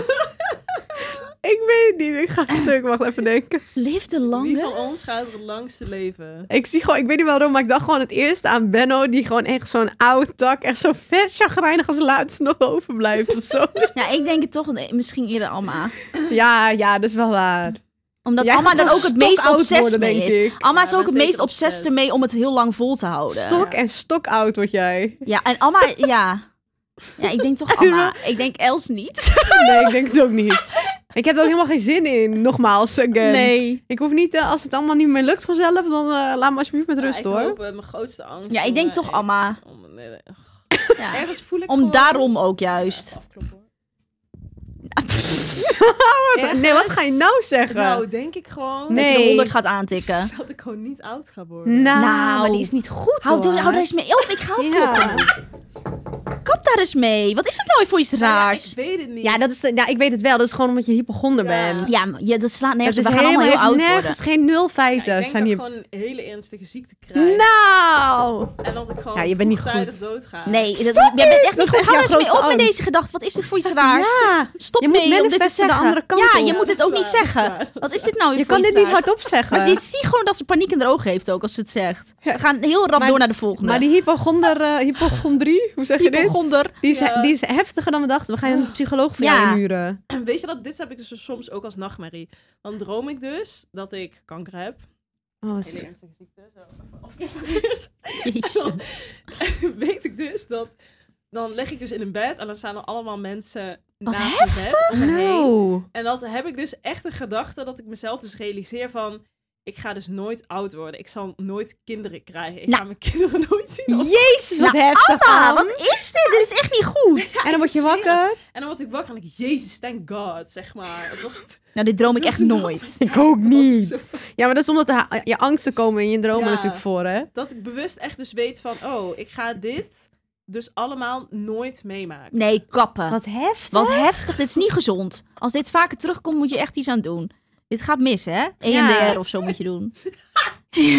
ik weet niet, ik ga stuk, wacht even denken. Live the Wie van ons longest. gaat het langste leven? Ik zie gewoon, ik weet niet waarom, maar ik dacht gewoon het eerste aan Benno, die gewoon echt zo'n oude tak, echt zo vet chagrijnig als laatste nog overblijft of zo. Ja, ik denk het toch. nee, misschien eerder Alma. ja, ja, dat is wel waar. Omdat Jij Alma gaat dan gewoon ook het meest stokoud obsessief worden, mee denk is. ik. Alma Ja, is ik ook ben het meest zeker obsessief obsessed. mee om het heel lang vol te houden. Stok en stokoud word jij. Ja, en Alma, ja. Ja, ik denk toch Alma. Ik denk Els niet. Nee, ik denk het ook niet. Ik heb er ook helemaal geen zin in, nogmaals. Again. Ik hoef niet, eh, als het allemaal niet meer lukt vanzelf, dan eh, laat me alsjeblieft met Ja, rust ik hoor. hoop, eh, mijn grootste angst. Ja, ik om, denk eh, toch echt- Alma. om- nee, nee. Ja. Ergens voel ik Om gewoon- daarom ook juist. Ja, afkloppen, hoor. Wat- nee, wat ga je nou zeggen? Nou, denk ik gewoon Dat Nee. je de 100 gaat aantikken. dat ik gewoon niet oud ga worden. Nou, Nou. maar die is niet goed Hou, hoor. doe, hou er eens mee op. Ik ga Ja. opkloppen. Kap daar eens mee. Wat is dat nou weer voor iets raars? ik weet het niet. Ja, dat is, eh, ja, ik weet het wel. Dat is gewoon omdat je hypochonder Ja. bent. Ja, maar ja, dat slaat Het nergens is op. We gaan allemaal heel dus helemaal- oud heeft worden. nergens geen nul Ja, feiten. ik denk zijn dat eh, hier... ik gewoon een hele ernstige ziekte krijg. Nou! En dat ik gewoon Ja, je bent niet vroegtijdig goed. doodga. Nee, dat, jij bent echt niet goed. echt Hou jouw eens mee grootste op met angst. deze gedachte. Wat is dit voor iets raars? Ja, Stop je moet mee om dit te manifesten de zeggen. andere kant ja, op. je Ja, moet het dat ook is niet waar, dat is zeggen. waar, dat Wat is is dit nou weer je voor kan iets dit niet raars? hardop zeggen. Maar ze zie gewoon dat ze paniek in haar ogen heeft ook als ze het zegt. We gaan heel rap Maar- door naar de volgende. Maar die hypochonder, eh, hypochondrie, hoe zeg je dit? Hypochonder. Die is, Ja. die is heftiger dan we dachten. We gaan een psycholoog voor Ja. jou inhuren. En weet je dat? Dit heb ik dus soms ook als nachtmerrie. Dan droom ik dus dat ik kanker heb. Oh, wat Hele is- ernstige ziekte. Zo. Jezus. weet ik dus dat... Dan leg ik dus in een bed en dan staan er allemaal mensen Wat naast mijn bed om me heen. Nou. En dat heb ik dus echt een gedachte dat ik mezelf dus realiseer van... Ik ga dus nooit oud worden. Ik zal nooit kinderen krijgen. Ik Nou. ga mijn kinderen nooit zien. als- Jezus, wat Nou, heftig. Ah, man. wat is dit? Dit is echt niet goed. En dan word je Ik zweer wakker. En dan word ik wakker en ik... Jezus, thank God, zeg maar. Het was... Nou, dit droom ik echt nooit. Ik ook Zo- Ja, maar dat is omdat de- eh, je angsten komen in je dromen Ja. natuurlijk voor, hè? Dat ik bewust echt dus weet van... Oh, ik ga dit dus allemaal nooit meemaken. Nee, kappen. Wat heftig. Wat heftig. Dit is niet gezond. Als dit vaker terugkomt, moet je echt iets aan doen. Dit gaat mis, hè? E EMDR of zo moet je doen.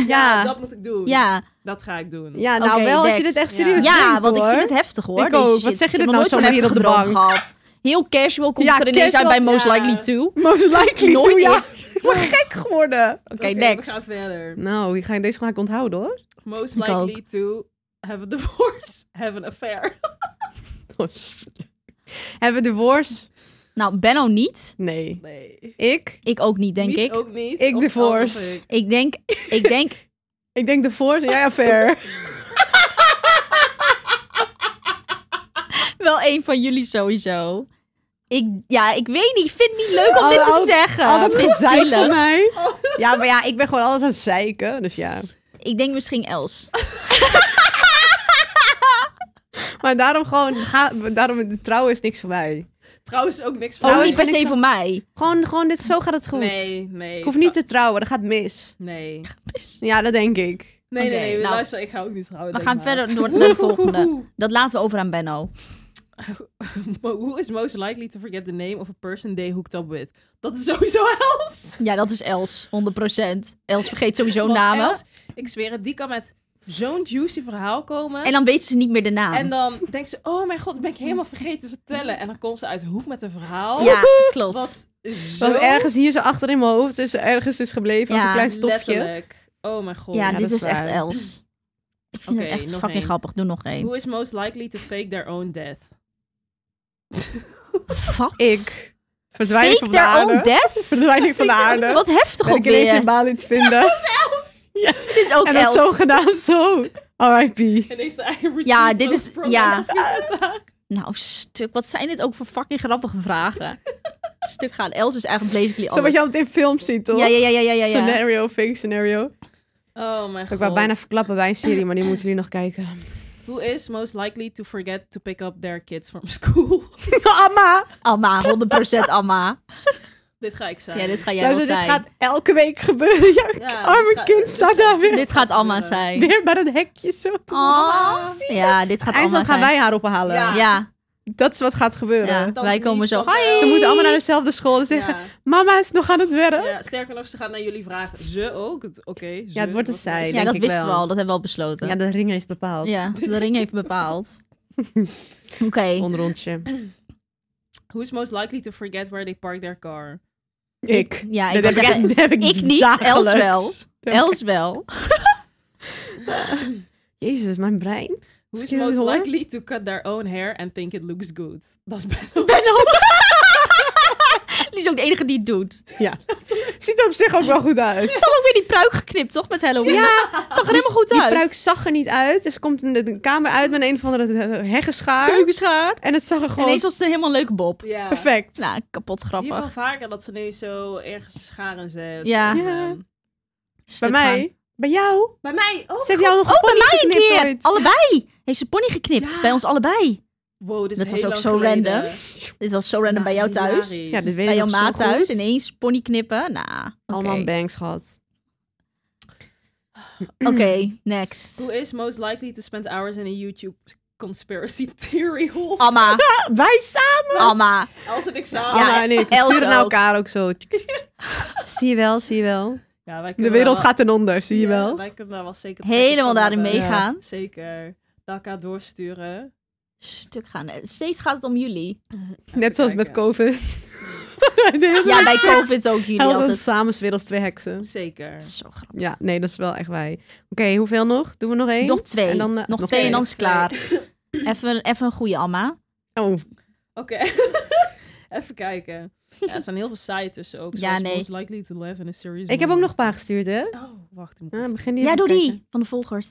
Ja. Dat moet ik doen. Ja, Dat ga ik doen. Ja, nou Oké, wel als je next. dit echt Ja. serieus ja neemt, want ik hoor. vind het heftig, hoor. Ik Deze ook. shit. Wat zeg je Ik heb dit nou nog nooit zo zo'n hier heftige op de droom bank? gehad. Heel casual komt Ja, er ineens uit casual, bij Most ja. Likely To. Oké, Most likely Nooit to, ja. eer- Ik word gek geworden. We next. gaan verder. Nou, die ga ik, deze ga ik onthouden, hoor. Most Ik likely to have a divorce, have an affair. Oh, s- Hebben we divorce? Nou, Benno niet. Nee. Nee. Ik? Ik ook niet, denk Mies ik. ook niet. Ik Of divorce. Els of ik. Ik denk, ik denk, Ik denk divorce. Jij affair. wel een van jullie sowieso. Ik, ja, ik weet niet. Ik vind het niet leuk om Al- dit te al- zeggen. Al dat Ik vind het gezeik zielig. van mij. Ja, maar ja, ik ben gewoon altijd aan het zeiken. Dus ja. Ik denk misschien Els. Maar daarom gewoon, ga, daarom, de trouw is niks voor mij. Trouwens ook niks Oh, van Trouwens, niet per ben ik se zo- voor mij. Gewoon, gewoon dit, zo gaat het goed. Nee, nee. Ik hoef niet te trouwen, dat gaat mis. Nee. Ja, dat denk ik. Nee, Oké, nee, nee. nou. Luister, ik ga ook niet trouwen. We denk gaan maar. verder door naar de volgende. Dat laten we over aan Benno. Mo- Who is most likely to forget the name of a person they hooked up with? Dat is sowieso Els. Ja, dat is Els. 100%. Els vergeet sowieso Want namen. Els, ik zweer het, die kan met zo'n juicy verhaal komen. En dan weet ze niet meer de naam. En dan denkt ze, oh mijn god, dat ben ik helemaal vergeten te vertellen. En dan komt ze uit de hoek met een verhaal. Ja, klopt. Wat zo Wat ergens hier zo achter in mijn hoofd is, ergens is gebleven als Ja, een klein stofje. letterlijk. Oh mijn god. ja, ja, dit dat is is echt waar. Els. Ik vind Oké, het echt nog fucking één. grappig. Doe nog één. Who is most likely to fake their own death? Wat? Ik. Verdwijning van de Fake their aarde. own death? Verdwijning van de aarde. Wat heftig ben ook ik ineens weer. in Bali te vinden. Dit is ook en dat Els. is zo gedaan, zo. R.I.P. En is de eigen Ja, dit is- retreat- ja. Nou, stuk. Wat zijn dit ook voor fucking grappige vragen? stuk gaan. Els is eigenlijk basically Zo wat alles. je altijd in films ziet, toch? ja, ja, ja, ja, ja, ja. ja. Scenario, fake scenario. Oh mijn god. Ik wou bijna verklappen bij een serie, maar die moeten jullie nog kijken. Who is most likely to forget to pick up their kids from school? Amma! Alma, 100% Alma. dit ga ik zijn. Ja, dit ga jij Luister, wel dit zijn. gaat elke week gebeuren. Jouw Ja, dit arme ga- kind dit staat gaat- daar weer. Dit gaat Alma gebeuren. zijn. Weer bij dat hekje zo. Oh. Ja, dit gaat Alma Eindelijk gaan zijn. wij haar ophalen. Ja. Ja, Dat is wat gaat gebeuren. ja. Tante wij Mies, komen zo. tante Hoi. Els. Ze moeten allemaal naar dezelfde school en zeggen... Ja. Mama is nog aan het werk. Ja, sterker nog, ze gaat naar jullie vragen. Ze ook? Het- Oké. ze, het wordt een wat- zij. Ja, denk dat ik wisten we wel. al. Dat hebben we al besloten. Ja, de ring heeft bepaald. Ja, de ring heeft bepaald. Oké. Onder onsje. Who is most likely to forget where they park their car? Ik. Ja, Dat ik wou heb zeggen, echt- dat heb ik ik niet, dagelijks. Els wel. Dat- Els wel. Jezus, mijn brein. Who is Excuse me, most hoor. likely to cut their own hair and think it looks good? Dat is bijna... Benno. Die is ook de enige die het doet. Ja. Ziet er op zich ook wel goed uit. Ze had ook weer die pruik geknipt, toch? Met Halloween. Ja. Zag er helemaal goed Die uit. pruik zag er niet uit. Dus ze komt in de- de kamer uit met een of andere eh, heggenschaar. Keukenschaar. En het zag er gewoon Ineens was het een helemaal leuke bob. Ja. perfect. Nou, kapot Hier van grappig. vaker dat ze nu zo ergens scharen zet. Ja. En, Ja. ehm, bij Stuk mij. gaan. Bij jou. Bij mij ook. Ze heeft jou nog een Oh, bij pony mij een geknipt keer. ooit. Allebei. Heeft ze pony geknipt. Ja. Bij ons allebei. Wow, dit is Dat was heel ook lang zo geleden. random. Dit was zo random bij jou thuis. Hilarisch. Ja, dit weet Bij ik jouw nog zo maat Nou, goed. thuis. Ineens pony knippen. Nou, oké. Allemaal bangs gehad. Oké, next. Who is most likely to spend hours in a YouTube conspiracy theory hole. Amma, Wij samen! Amma. Ah. Els en ik samen. Ja, Ah, Ja. Anna en ik, we Els sturen naar ook. elkaar ook zo. zie je wel, zie je wel. wij De kunnen wereld daar gaat ten onder, zie je Ja, wel. Wij kunnen daar wel zeker Helemaal plekjes van daarin hebben. meegaan. Ja, zeker. Naar elkaar doorsturen. Stuk gaan. Eh, Steeds gaat het om jullie. Net zoals met kijken. COVID. Ja, bij COVID ook jullie Helden altijd. samen 's werelds twee heksen. Zeker. Zo grappig. Ja, nee, dat is wel echt wij. Oké, hoeveel nog? Doen we nog één? Nog twee. En dan, eh, nog, nog twee, twee. en dan is het Twee. klaar. Even, even een goede Amma. Oh, Oké. Even kijken. Ja, er zijn heel veel saaien tussen ook. Ja, Zoals nee. Most likely to live in a series. ik heb ook nog een paar gestuurd, hè? Oh, wacht. ik moet- Ja, Ah, begin die Ja, even doe te die. Van de volgers.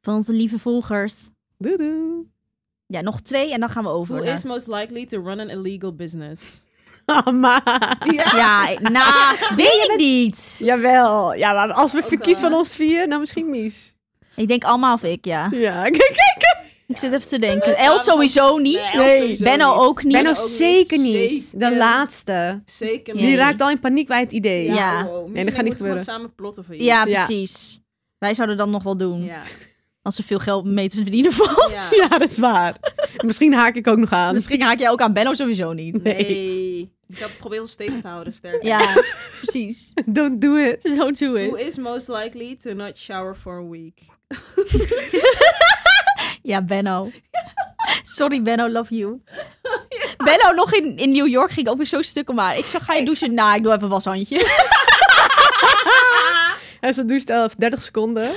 Van onze lieve volgers. kijken. Doe, doe. Ja, nog twee en dan gaan we over. Who naar- is most likely to run an illegal business? Amma. Ja, ik- nou, weet ik niet. Jawel. Ja, maar als Oh, we Ook verkies waar. van ons vier, nou misschien Mies. Ik denk Amma of ik, ja. Ja, kijk, kijk. Ik zit even te denken. Nee, El samen- sowieso niet. Els Nee. sowieso Benno niet. ook niet. Ben nog ook niet. zeker niet. Zeker. De laatste. Zeker Nee. Die niet. raakt al in paniek bij het idee. Ja. Wow. Nee, Nee, dat dat gaat niet gebeuren. gewoon samen plotten voor iets. Ja, Ja. precies. Wij zouden dan nog wel doen. Ja. Als er veel geld mee te verdienen valt. Ja. Ja, dat is waar. Misschien haak ik ook nog aan. Misschien haak jij ook aan Benno sowieso niet. Nee. Ik heb probeer ons tegen te houden, sterk. Ja, precies. Don't do it. Don't do Who is most likely to not shower for a week? Ja, Benno. Sorry, Benno, love you. Benno, nog in, in New York ging ik ook weer zo stuk om haar. Ik zeg, ga je douchen? Nou, ik doe even een washandje. En ze doucht elf 30 seconden.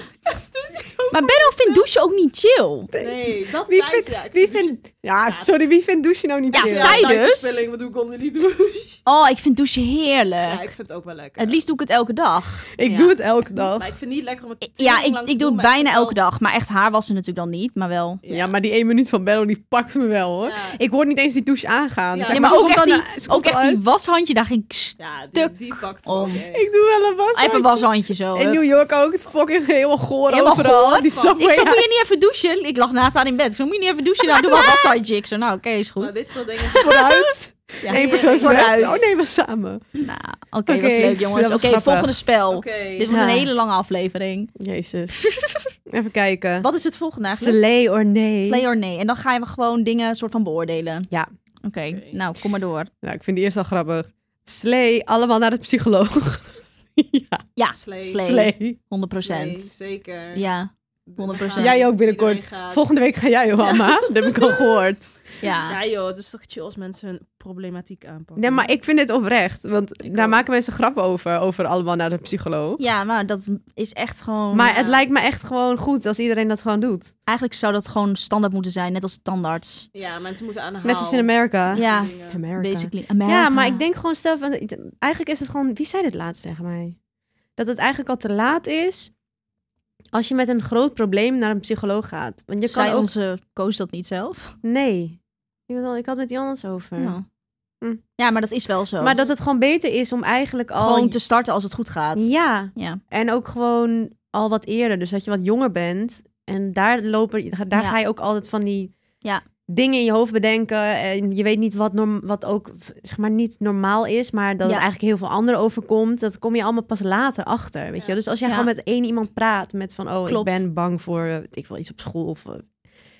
Maar Benno vindt douchen ook niet chill. Nee, dat Wie zei vindt, ze. Ja, ik wie vind vindt, ja, sorry, wie vindt douche nou niet Ja, chill? douchen- zij Ja, dus? tijdverspilling, Wat doe ik onder die douche? Oh, ik vind douchen heerlijk. Ja, ik vind het ook wel lekker. Het liefst doe ik het elke dag. Ik Ja. doe het elke dag. Maar ik vind het niet lekker om het Ja, tering ik, lang ik te doe doen, het maar ik bijna vind elke dag. Maar echt haar wassen natuurlijk dan niet, maar wel. wel- Ja, maar die één minuut van Bello, die pakt me wel hoor. Ja. Ik hoor niet eens die douche aangaan. Ja. Zeg Nee, maar maar ze ook echt, komt dan- eh, die, ze ook komt echt al die uit. washandje, daar ging ik... st- Ja, die, Tuk. die pakt Om. om. Ik doe wel een was. Ah, Even een washandje zo. In New York ook, fucking helemaal goor Helemaal overal. goor. Die Ik subway. zo, moet je niet even douchen? Ik lag naast haar in bed. Ik zo, moet je niet even douchen? Nou, doe maar een washandje. Ik zo, nou, oké, is goed. Maar dit soort dingen... vooruit. Ja. Eén persoon Vooruit. vooruit. Oh nee, we samen. Nou, oké, dat Oké, was leuk jongens. dat was Oké, grappig. volgende spel. Oké. Oh, Dit wordt Ja. een hele lange aflevering. Jezus. Even kijken. Wat is het volgende eigenlijk? Slay or nee? Slay or nee. En dan gaan we gewoon dingen soort van beoordelen. Ja. Oké, nou, kom maar door. Nou, ik vind die eerst al grappig. Slay, allemaal naar de psycholoog. ja, Ja, Slay. slay. slay. 100 Nee, zeker. Ja, We 100%. gaan- Jij ook binnenkort. Iedereen gaat- Volgende week ga jij, Johanna. Dat heb ik al gehoord. ja. Ja joh, het is toch chill als mensen hun problematiek aanpakken. Nee, maar ik vind dit oprecht. Want Ik daar ook. maken mensen grappen over. Over allemaal naar de psycholoog. Ja, maar dat is echt gewoon... Maar ja. het lijkt me echt gewoon goed als iedereen dat gewoon doet. Eigenlijk zou dat gewoon standaard moeten zijn, net als tandarts. Ja, mensen moeten aan de haal. Net zoals in Amerika. Ja, Dingen. Nou. Amerika. basically. Ja, America. maar ik denk gewoon zelf... Eigenlijk is het gewoon... Wie zei dit laatst tegen mij? Dat het eigenlijk al te laat is... Als je met een groot probleem naar een psycholoog gaat. Want je Zij kan ook... onze koos dat niet zelf. Nee. Ik had, ik had met die anders over. Ja. Hm. ja, maar dat is wel zo. Maar dat het gewoon beter is om eigenlijk al... Gewoon te starten als het goed gaat. Ja. Ja. En ook gewoon al wat eerder. Dus dat je wat jonger bent. En daar, lopen, daar Ja. ga je ook altijd van die Ja. dingen in je hoofd bedenken. En je weet niet wat, norm, wat ook zeg maar, niet normaal is. Maar dat Ja. het eigenlijk heel veel anderen overkomt. Dat kom je allemaal pas later achter. Weet je? wel. Dus als jij Ja. gewoon met één iemand praat. Met van, oh, Klopt. ik ben bang voor eh, weet ik wil iets op school. Of, eh,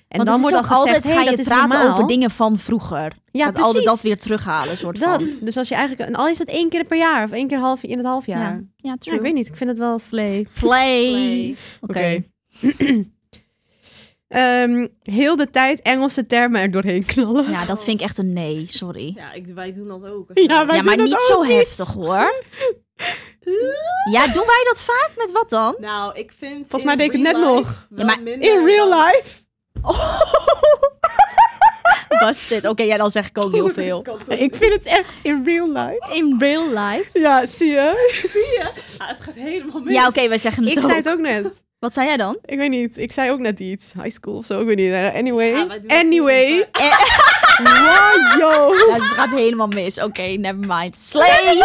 en Want dan het is wordt al ook gezegd, altijd hey, ga je dat is praten normaal. over dingen van vroeger. Ja, dat precies. altijd dat weer terughalen, soort van. Dat. Dus als je eigenlijk, en al is het één keer per jaar of één keer half, in het half jaar. Ja, ja Ja, true. ik weet niet, ik vind het wel slay. Slay. Slay. Oké. Ehm, heel de tijd Engelse termen er doorheen knallen. Ja, dat vind ik echt een nee, sorry. Ja, Ja, ik, wij doen dat ook. Ja, wij- maar doen dat niet zo ook niet. heftig hoor. Ja, doen wij dat vaak? Met wat dan? Nou, ik vind... Volgens mij in deed ik het net real nog. life wel Ja, maar minder In real dan- life. Was dit? Oké, ja, dan zeg ik ook heel veel. Kan toch Ik vind het echt in real life. In real life? Ja, zie je? niet? Ja, het gaat helemaal mis. Ja, oké, wij zeggen het Ik ook. zei het ook net. Wat zei jij dan? Ik weet niet. Ik zei ook net iets. High school of zo. Ik weet niet. Anyway. Ja, wij doen het anyway. hier. Wow, yo. Ja, dus het gaat helemaal mis. Oké, never mind. Slay!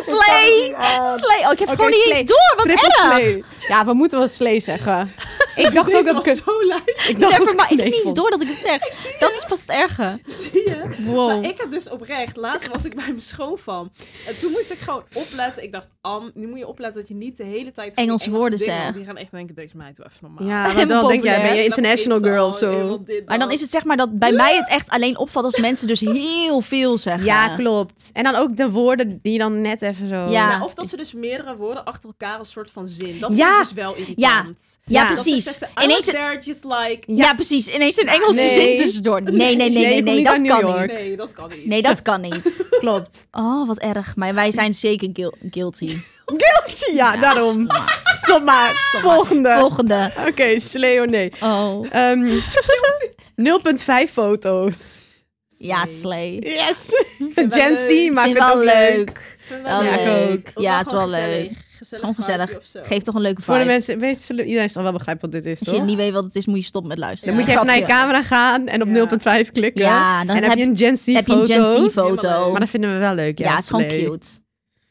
Slay! Slay! Oh, ik heb het Oké, gewoon niet slay. eens door. Wat Triple erg! slay. Ja, we moeten wel slay zeggen. Ik dacht ook Deze dat was ik... zo lijp. Ik dacht dat Never mind. het Ik heb niet leeg eens vond. door dat ik het zeg. Dat is pas het erge. Zie je? Wow. Maar ik heb dus oprecht, laatst was ik bij mijn schoonfam. En toen moest ik gewoon opletten. Ik dacht, Am, nu moet je opletten dat je niet de hele tijd... van die Engelse woorden dingen, want zegt. Die gaan echt denken, deze meid doe even normaal. Ja, En maar dan denk jij, populair. ben je international girl of zo? Maar dan is het zeg maar dat bij mij het echt alleen opvalt als mensen dus heel veel zeggen. Ja, klopt. En dan ook de woorden die dan net even zo... Ja. of dat ze dus meerdere woorden achter elkaar als soort van zin. Dat Ja. vind ik dus wel irritant. Ja, Ja. precies. Dat ze zegt, I was Ineens, een- there just like... ja, precies. Ineens een Engelse Nee. zin tussendoor. Nee, nee, nee, Nee, je nee, nee, komt niet dat uit New kan York. niet. Nee, dat kan niet. Nee, dat kan niet. Klopt. Oh, wat erg. Maar wij zijn zeker guil- guilty. Ja, daarom. Stop maar. Volgende. Volgende. Oké, slee or nee. Oh. Ehm, 0.5 foto's. Ja, slay. Yes! het wel Gen Z leuk. maakt Vind het wel ook leuk. leuk. Vind ik Wel Ja, ik leuk. ook. Ook Ja, het is wel gezellig. leuk. Gezellig is gewoon vibe gezellig. of zo. Geeft toch een leuke vibe. Voor de mensen, weet, zullen, iedereen zal wel begrijpen wat dit is, Als je toch? niet weet wat het is, moet je stoppen met luisteren. Dan moet je even naar je camera gaan en op Ja. 0.5 klikken. Ja, dan en heb je een Gen Z heb je een Gen foto. Z-foto. Maar dat vinden we wel leuk. Ja, Ja, het is gewoon Slay. cute.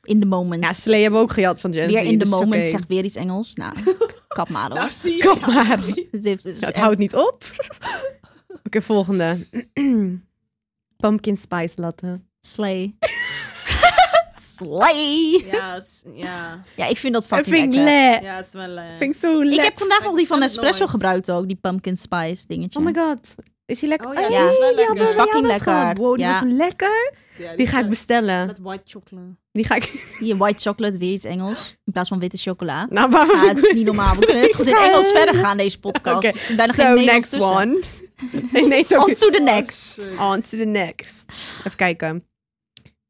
In the moment. Ja, Slee hebben we ook gejat van Gen Z. weer in the dus moment oké. zegt weer iets Engels. Nou, kap maar hoor. Nou, zie je. Kom Ja, maar. sorry. Het heeft- het Ja, is Nou, het echt- houdt niet op. Oké, volgende. Pumpkin spice latte. Slay. Slay. Ja, s- ja. Ja, ik vind dat Dat fucking vind ik lekker. le. Ja, het is wel... eh, Vind ik zo Ik lekker. heb vandaag nog die van Ik bestel het Nespresso nooit. gebruikt ook, die pumpkin spice dingetje. Oh my god. Is die lekker? Oh ja, Hey, die is wel die lekker. hadden Die is we fucking jou wel eens lekker. gehad. Wow, die Ja. was lekker. ja, Die ga ik is bestellen. Met white chocolate. Die ga ik... Die white chocolate, weer iets Engels. In plaats van witte chocola. Nou, waarom? Ja, Ah, het is niet normaal. We kunnen net zo goed in Engels verder gaan, deze podcast. Oké, Er is bijna So, geen next Nederlands tussen. one. Ineens ook... On to the next. eh, On to the next. Even kijken.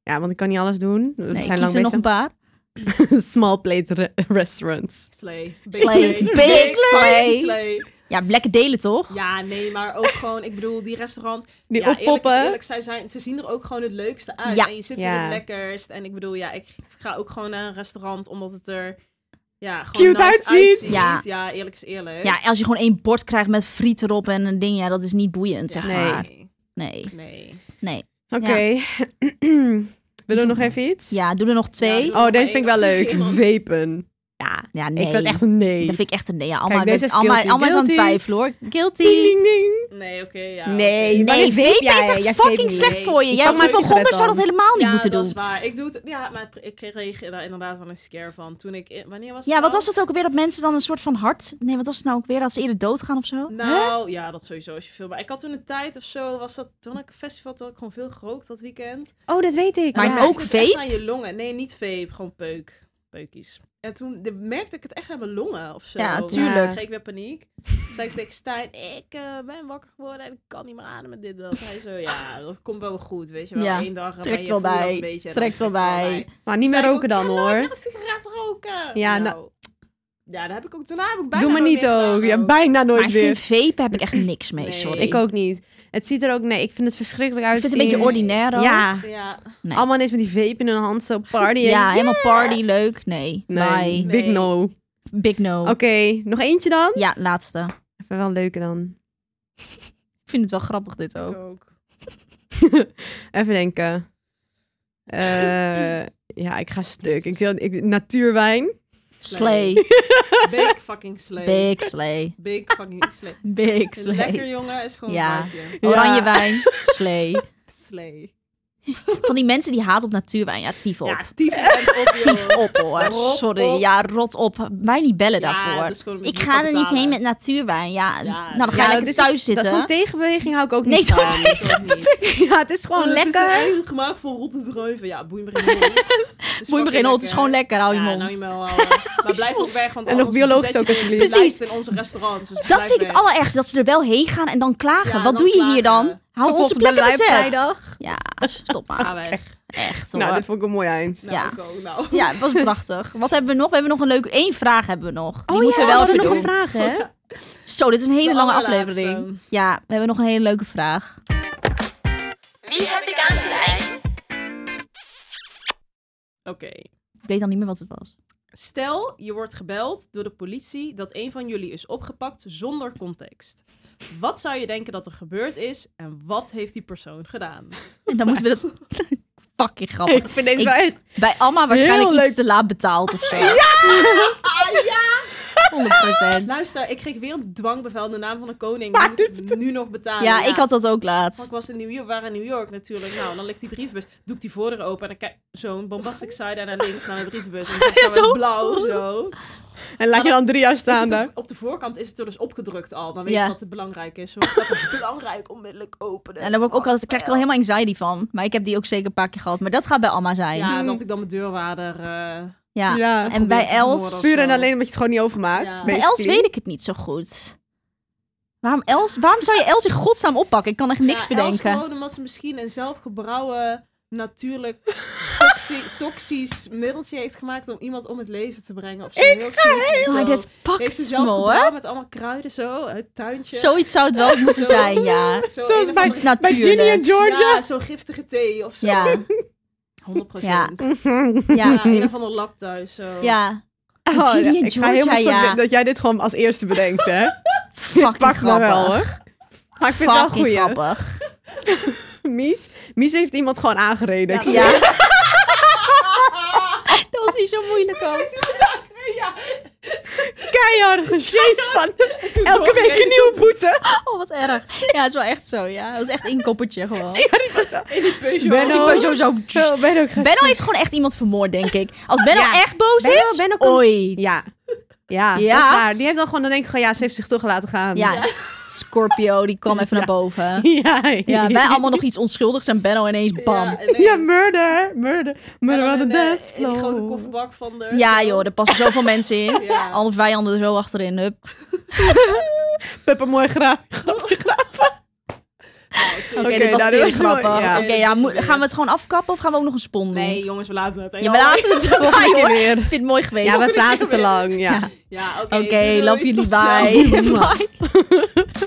Ja, want ik kan niet alles doen. We Nee, zijn kies lang er nog een bezig. paar. Small plate re- restaurants. Slay. Slay. Big slay. Slay. Ja, black delen toch? Ja, nee, maar ook gewoon, ik bedoel, die restaurant. Die ja, eerlijk is oppoppen. eerlijk, zij zijn, ze zien er ook gewoon het leukste uit. Ja. En je zit er Ja. het lekkerst. En ik bedoel, ja, ik ga ook gewoon naar een restaurant omdat het er ja, gewoon Cute nice uitziet. Ja. Ja. eerlijk is eerlijk. Ja, als je gewoon één bord krijgt met friet erop en een ding, ja, dat is niet boeiend, zeg Nee. maar. Nee, Nee. nee. Oké. Willen we nog even iets? Ja, doe er nog twee. Ja, Ja, doe- Oh, deze vind ik wel leuk. Iemand- Wepen. Ja, nee. ik vind echt een nee. Dat vind ik echt een nee. Ja, Kijk, allemaal, deze is allemaal, guilty. allemaal is aan het Guilty. twijfelen hoor. Ding, Guilty. ding, ding. Nee, oké, ja. Nee, Nee, wanneer vape vape jij? is Jij echt vape fucking niet. slecht Nee. voor je. Ik Jij pak als maar een hypochonder sigaret zou dat dan. helemaal niet ja, moeten dat doen. is waar. Ik doe het, ja, maar ik kreeg er daar inderdaad wel een scare van. Toen ik, in- wanneer was Ja, het wat nou? was het ook alweer? Dat mensen dan een soort van hart... Nee, wat was het nou ook weer? Dat ze eerder doodgaan of zo? Nou, ja, dat sowieso als je veel. Maar ik had toen een tijd of zo, was dat toen had ik een festival, toen had ik gewoon veel gerookt dat weekend. Oh, dat weet ik. Maar Ja, ja. ook ik moest echt vape? aan je longen. Nee, niet vape, gewoon peuk. Peukies. En toen de- merkte ik het echt aan mijn longen of zo. Ja, tuurlijk. Toen kreeg ik weer paniek. Toen zei ik tegen Stijn, ik eh, ben wakker geworden en ik kan niet meer ademen dit dat. Hij zo, ja, dat komt wel goed, weet je wel. Ja, Eén dag en trekt je wel voelt dat bij, een beetje en dan trekt wel "Oh bij. Maar niet meer Zei ik roken ook, dan ja, nooit hoor. meer een sigaret roken. Ja, Nou. nou. ja, daar heb ik ook daarna heb ik bijna Doe maar nooit niet meer gedaan ook. Ja, bijna Maar nooit ik weer. vind vape heb ik echt niks mee, Nee. sorry. Ik ook niet. Het ziet er ook... Nee, ik vind het verschrikkelijk Ik uit. vind het een beetje ordinair ook. Ja. Ja, Nee. Allemaal ineens met die vape in hun hand zo party. Ja, helemaal party, leuk. Nee, Nee, bye. big Nee. no. Oké, Big no. nog eentje dan? Ja, laatste. Even wel een leuke dan. Ik vind het wel grappig dit ik ook. ook. Even denken. Eh, ja, ik ga stuk. Ik wil, ik, natuurwijn. Slay. Big fucking slay. Big slay. Big fucking slay. Big Lekker slay. jongen is gewoon Ja. een vibeje. Ja. Oranje wijn. Slay. Slay. Van die mensen die haat op natuurwijn. Ja, tief op. Ja, tief en op, Tief joh. op hoor. Rot Sorry. op. Ja, rot op. Mij niet bellen Ja, daarvoor. dat is gewoon omdat Ik je ga kan er niet betalen. heen met natuurwijn. Ja, Ja, nou dan ga je ja, dat lekker is- thuis Dat is zo'n zitten. tegenbeweging hou ik ook niet Nee, zo'n van. Ja, nee, toch niet. Ja, het is gewoon Oh, Het is lekker. een gemaakt voor rotte druiven. Ja, boei me geen hol. Het is Moet je me fucking geen hol, het is gewoon lekker. Hou je Ja, mond. nou je wel. eh, Maar blijf ook weg, want En nog anders biologisch bezet ook je alsjeblieft. de Precies. lijst in onze restaurants. Dus Dat blijf vind ik het weg. allerergste. Dat ze er wel heen gaan en dan klagen. Wat Ja, dan doe je hier klagen. dan? Hou onze Vervolgens plekken bij Live bezet. Vrijdag. Ja, stop maar. Ga weg. Echt hoor. Nou, dat vond ik een mooi eind. Nou, Ja. ik ook. Nou. Ja, het was prachtig. Wat hebben we nog? We hebben nog een leuke één vraag hebben we nog. Die Oh moeten ja, we wel hadden even nog doen. een vraag, hè? Zo, dit is een hele De lange allerlaatste. aflevering. Ja, we hebben nog een hele leuke vraag. Wie heb ik aan de lijn? Oké. Ik weet dan niet meer wat het was. Stel, je wordt gebeld door de politie dat een van jullie is opgepakt zonder context. Wat zou je denken dat er gebeurd is en wat heeft die persoon gedaan? En dan moeten we dat... Fucking grappig. Ik vind deze Ik- wel echt... Bij Alma waarschijnlijk Heel iets leuk. te laat betaald of zo. Ja! Ah ja! Luister, ik kreeg weer een dwangbevel in de naam van de koning. Je moet het nu nog betalen. Ja, ik had dat ook Want ik laatst. was in New York, we waren in New York natuurlijk. Nou, dan ligt die brievenbus. Doe ik die voordeur open en dan kijk zo'n bombastic side naar links naar mijn brievenbus. En dan gaan we blauw zo. En Oh, laat je dan drie jaar Is staan het daar. op, op de voorkant is het er dus opgedrukt al. Dan weet Ja. je wat het belangrijk is. Zo staat het belangrijk onmiddellijk openen. En daar word ik ook altijd, daar krijg ik al helemaal anxiety van. Maar ik heb die ook zeker een paar keer gehad. Maar dat gaat bij Alma zijn. Ja. Ja, dat ik dan mijn deurwaarder... eh, Ja. En Hm. bij probeer te Els- vermoorden of Puur en zo. alleen omdat je het gewoon niet overmaakt. Ja. Bij Els weet ik het niet zo goed. Waarom, Els, waarom zou je Els in godsnaam oppakken? Ik kan echt niks Ja, Els bedenken. gewoon omdat ze misschien een zelfgebrouwen, natuurlijk toxi- toxisch middeltje heeft gemaakt om iemand om het leven te brengen. Of zo. heel ga Oh, Maar dit Heeft ze pakt zelf me hoor. gebrouwen met allemaal kruiden zo, het tuintje. Zoiets zou het wel moeten Zo. zijn, ja. Zo Zoals een of bij- Het andere- is Bij Ginny en natuurlijk. Georgia. Ja, zo'n giftige thee of zo. Ja, 100 Ja. Ja. ja, een of ander lab thuis. Zo. ja. Oh, Ginny en ja, ik ga helemaal Georgia, stuk ja. dat jij dit gewoon als eerste bedenkt, hè? Fucking Pak me grappig. wel, hoor. Maar ik vind het wel Fucking goed. grappig. Mies, Mies heeft iemand gewoon aangereden. Ik Ja. zweer. Ja. dat was niet zo moeilijk ook. Ja, Keihard gesjeest van en elke week een toen doorgereden nieuwe boete. Oh, wat erg. Ja, het is wel echt zo, ja. Het was echt een koppertje gewoon. zo In die Peugeot. Benno. ben zo- zo- Zo, Benno, ik ga Benno heeft gewoon echt iemand vermoord, denk ik. Als Benno Ja. echt boos Benno- is, Benno komt- oei. Ja. Ja, Ja. dat is waar. Die heeft dan gewoon, dan denk ik gewoon, ja, ze heeft zich toch laten gaan. Ja, Scorpio, die kwam even naar boven. Ja, Ja, wij allemaal nog iets onschuldigs en Benno ineens bam. Ja, Ja, ineens. Ja, murder, murder, En murder dan on the in, eh, death In die grote floor. kofferbak van de... joh, er passen zoveel mensen in. Ja. Alle vijanden er zo achterin, hup. Peppa, mooi graaf. Ja, Oké, Oké, dit was nou, dit natuurlijk was mooi, grappig. ja. Oké, Oké, ja, dit is moet- gebeurd. gaan we het gewoon afkappen of gaan we ook nog een spon doen? Nee, jongens, we laten het. Ja, we laten het zo bij, Volgende keer hoor. weer. Ik vind het mooi geweest. Ja, we praten te lang, ja. Ja, oké. Oké, doei, love jullie, tot snel. bye. bye.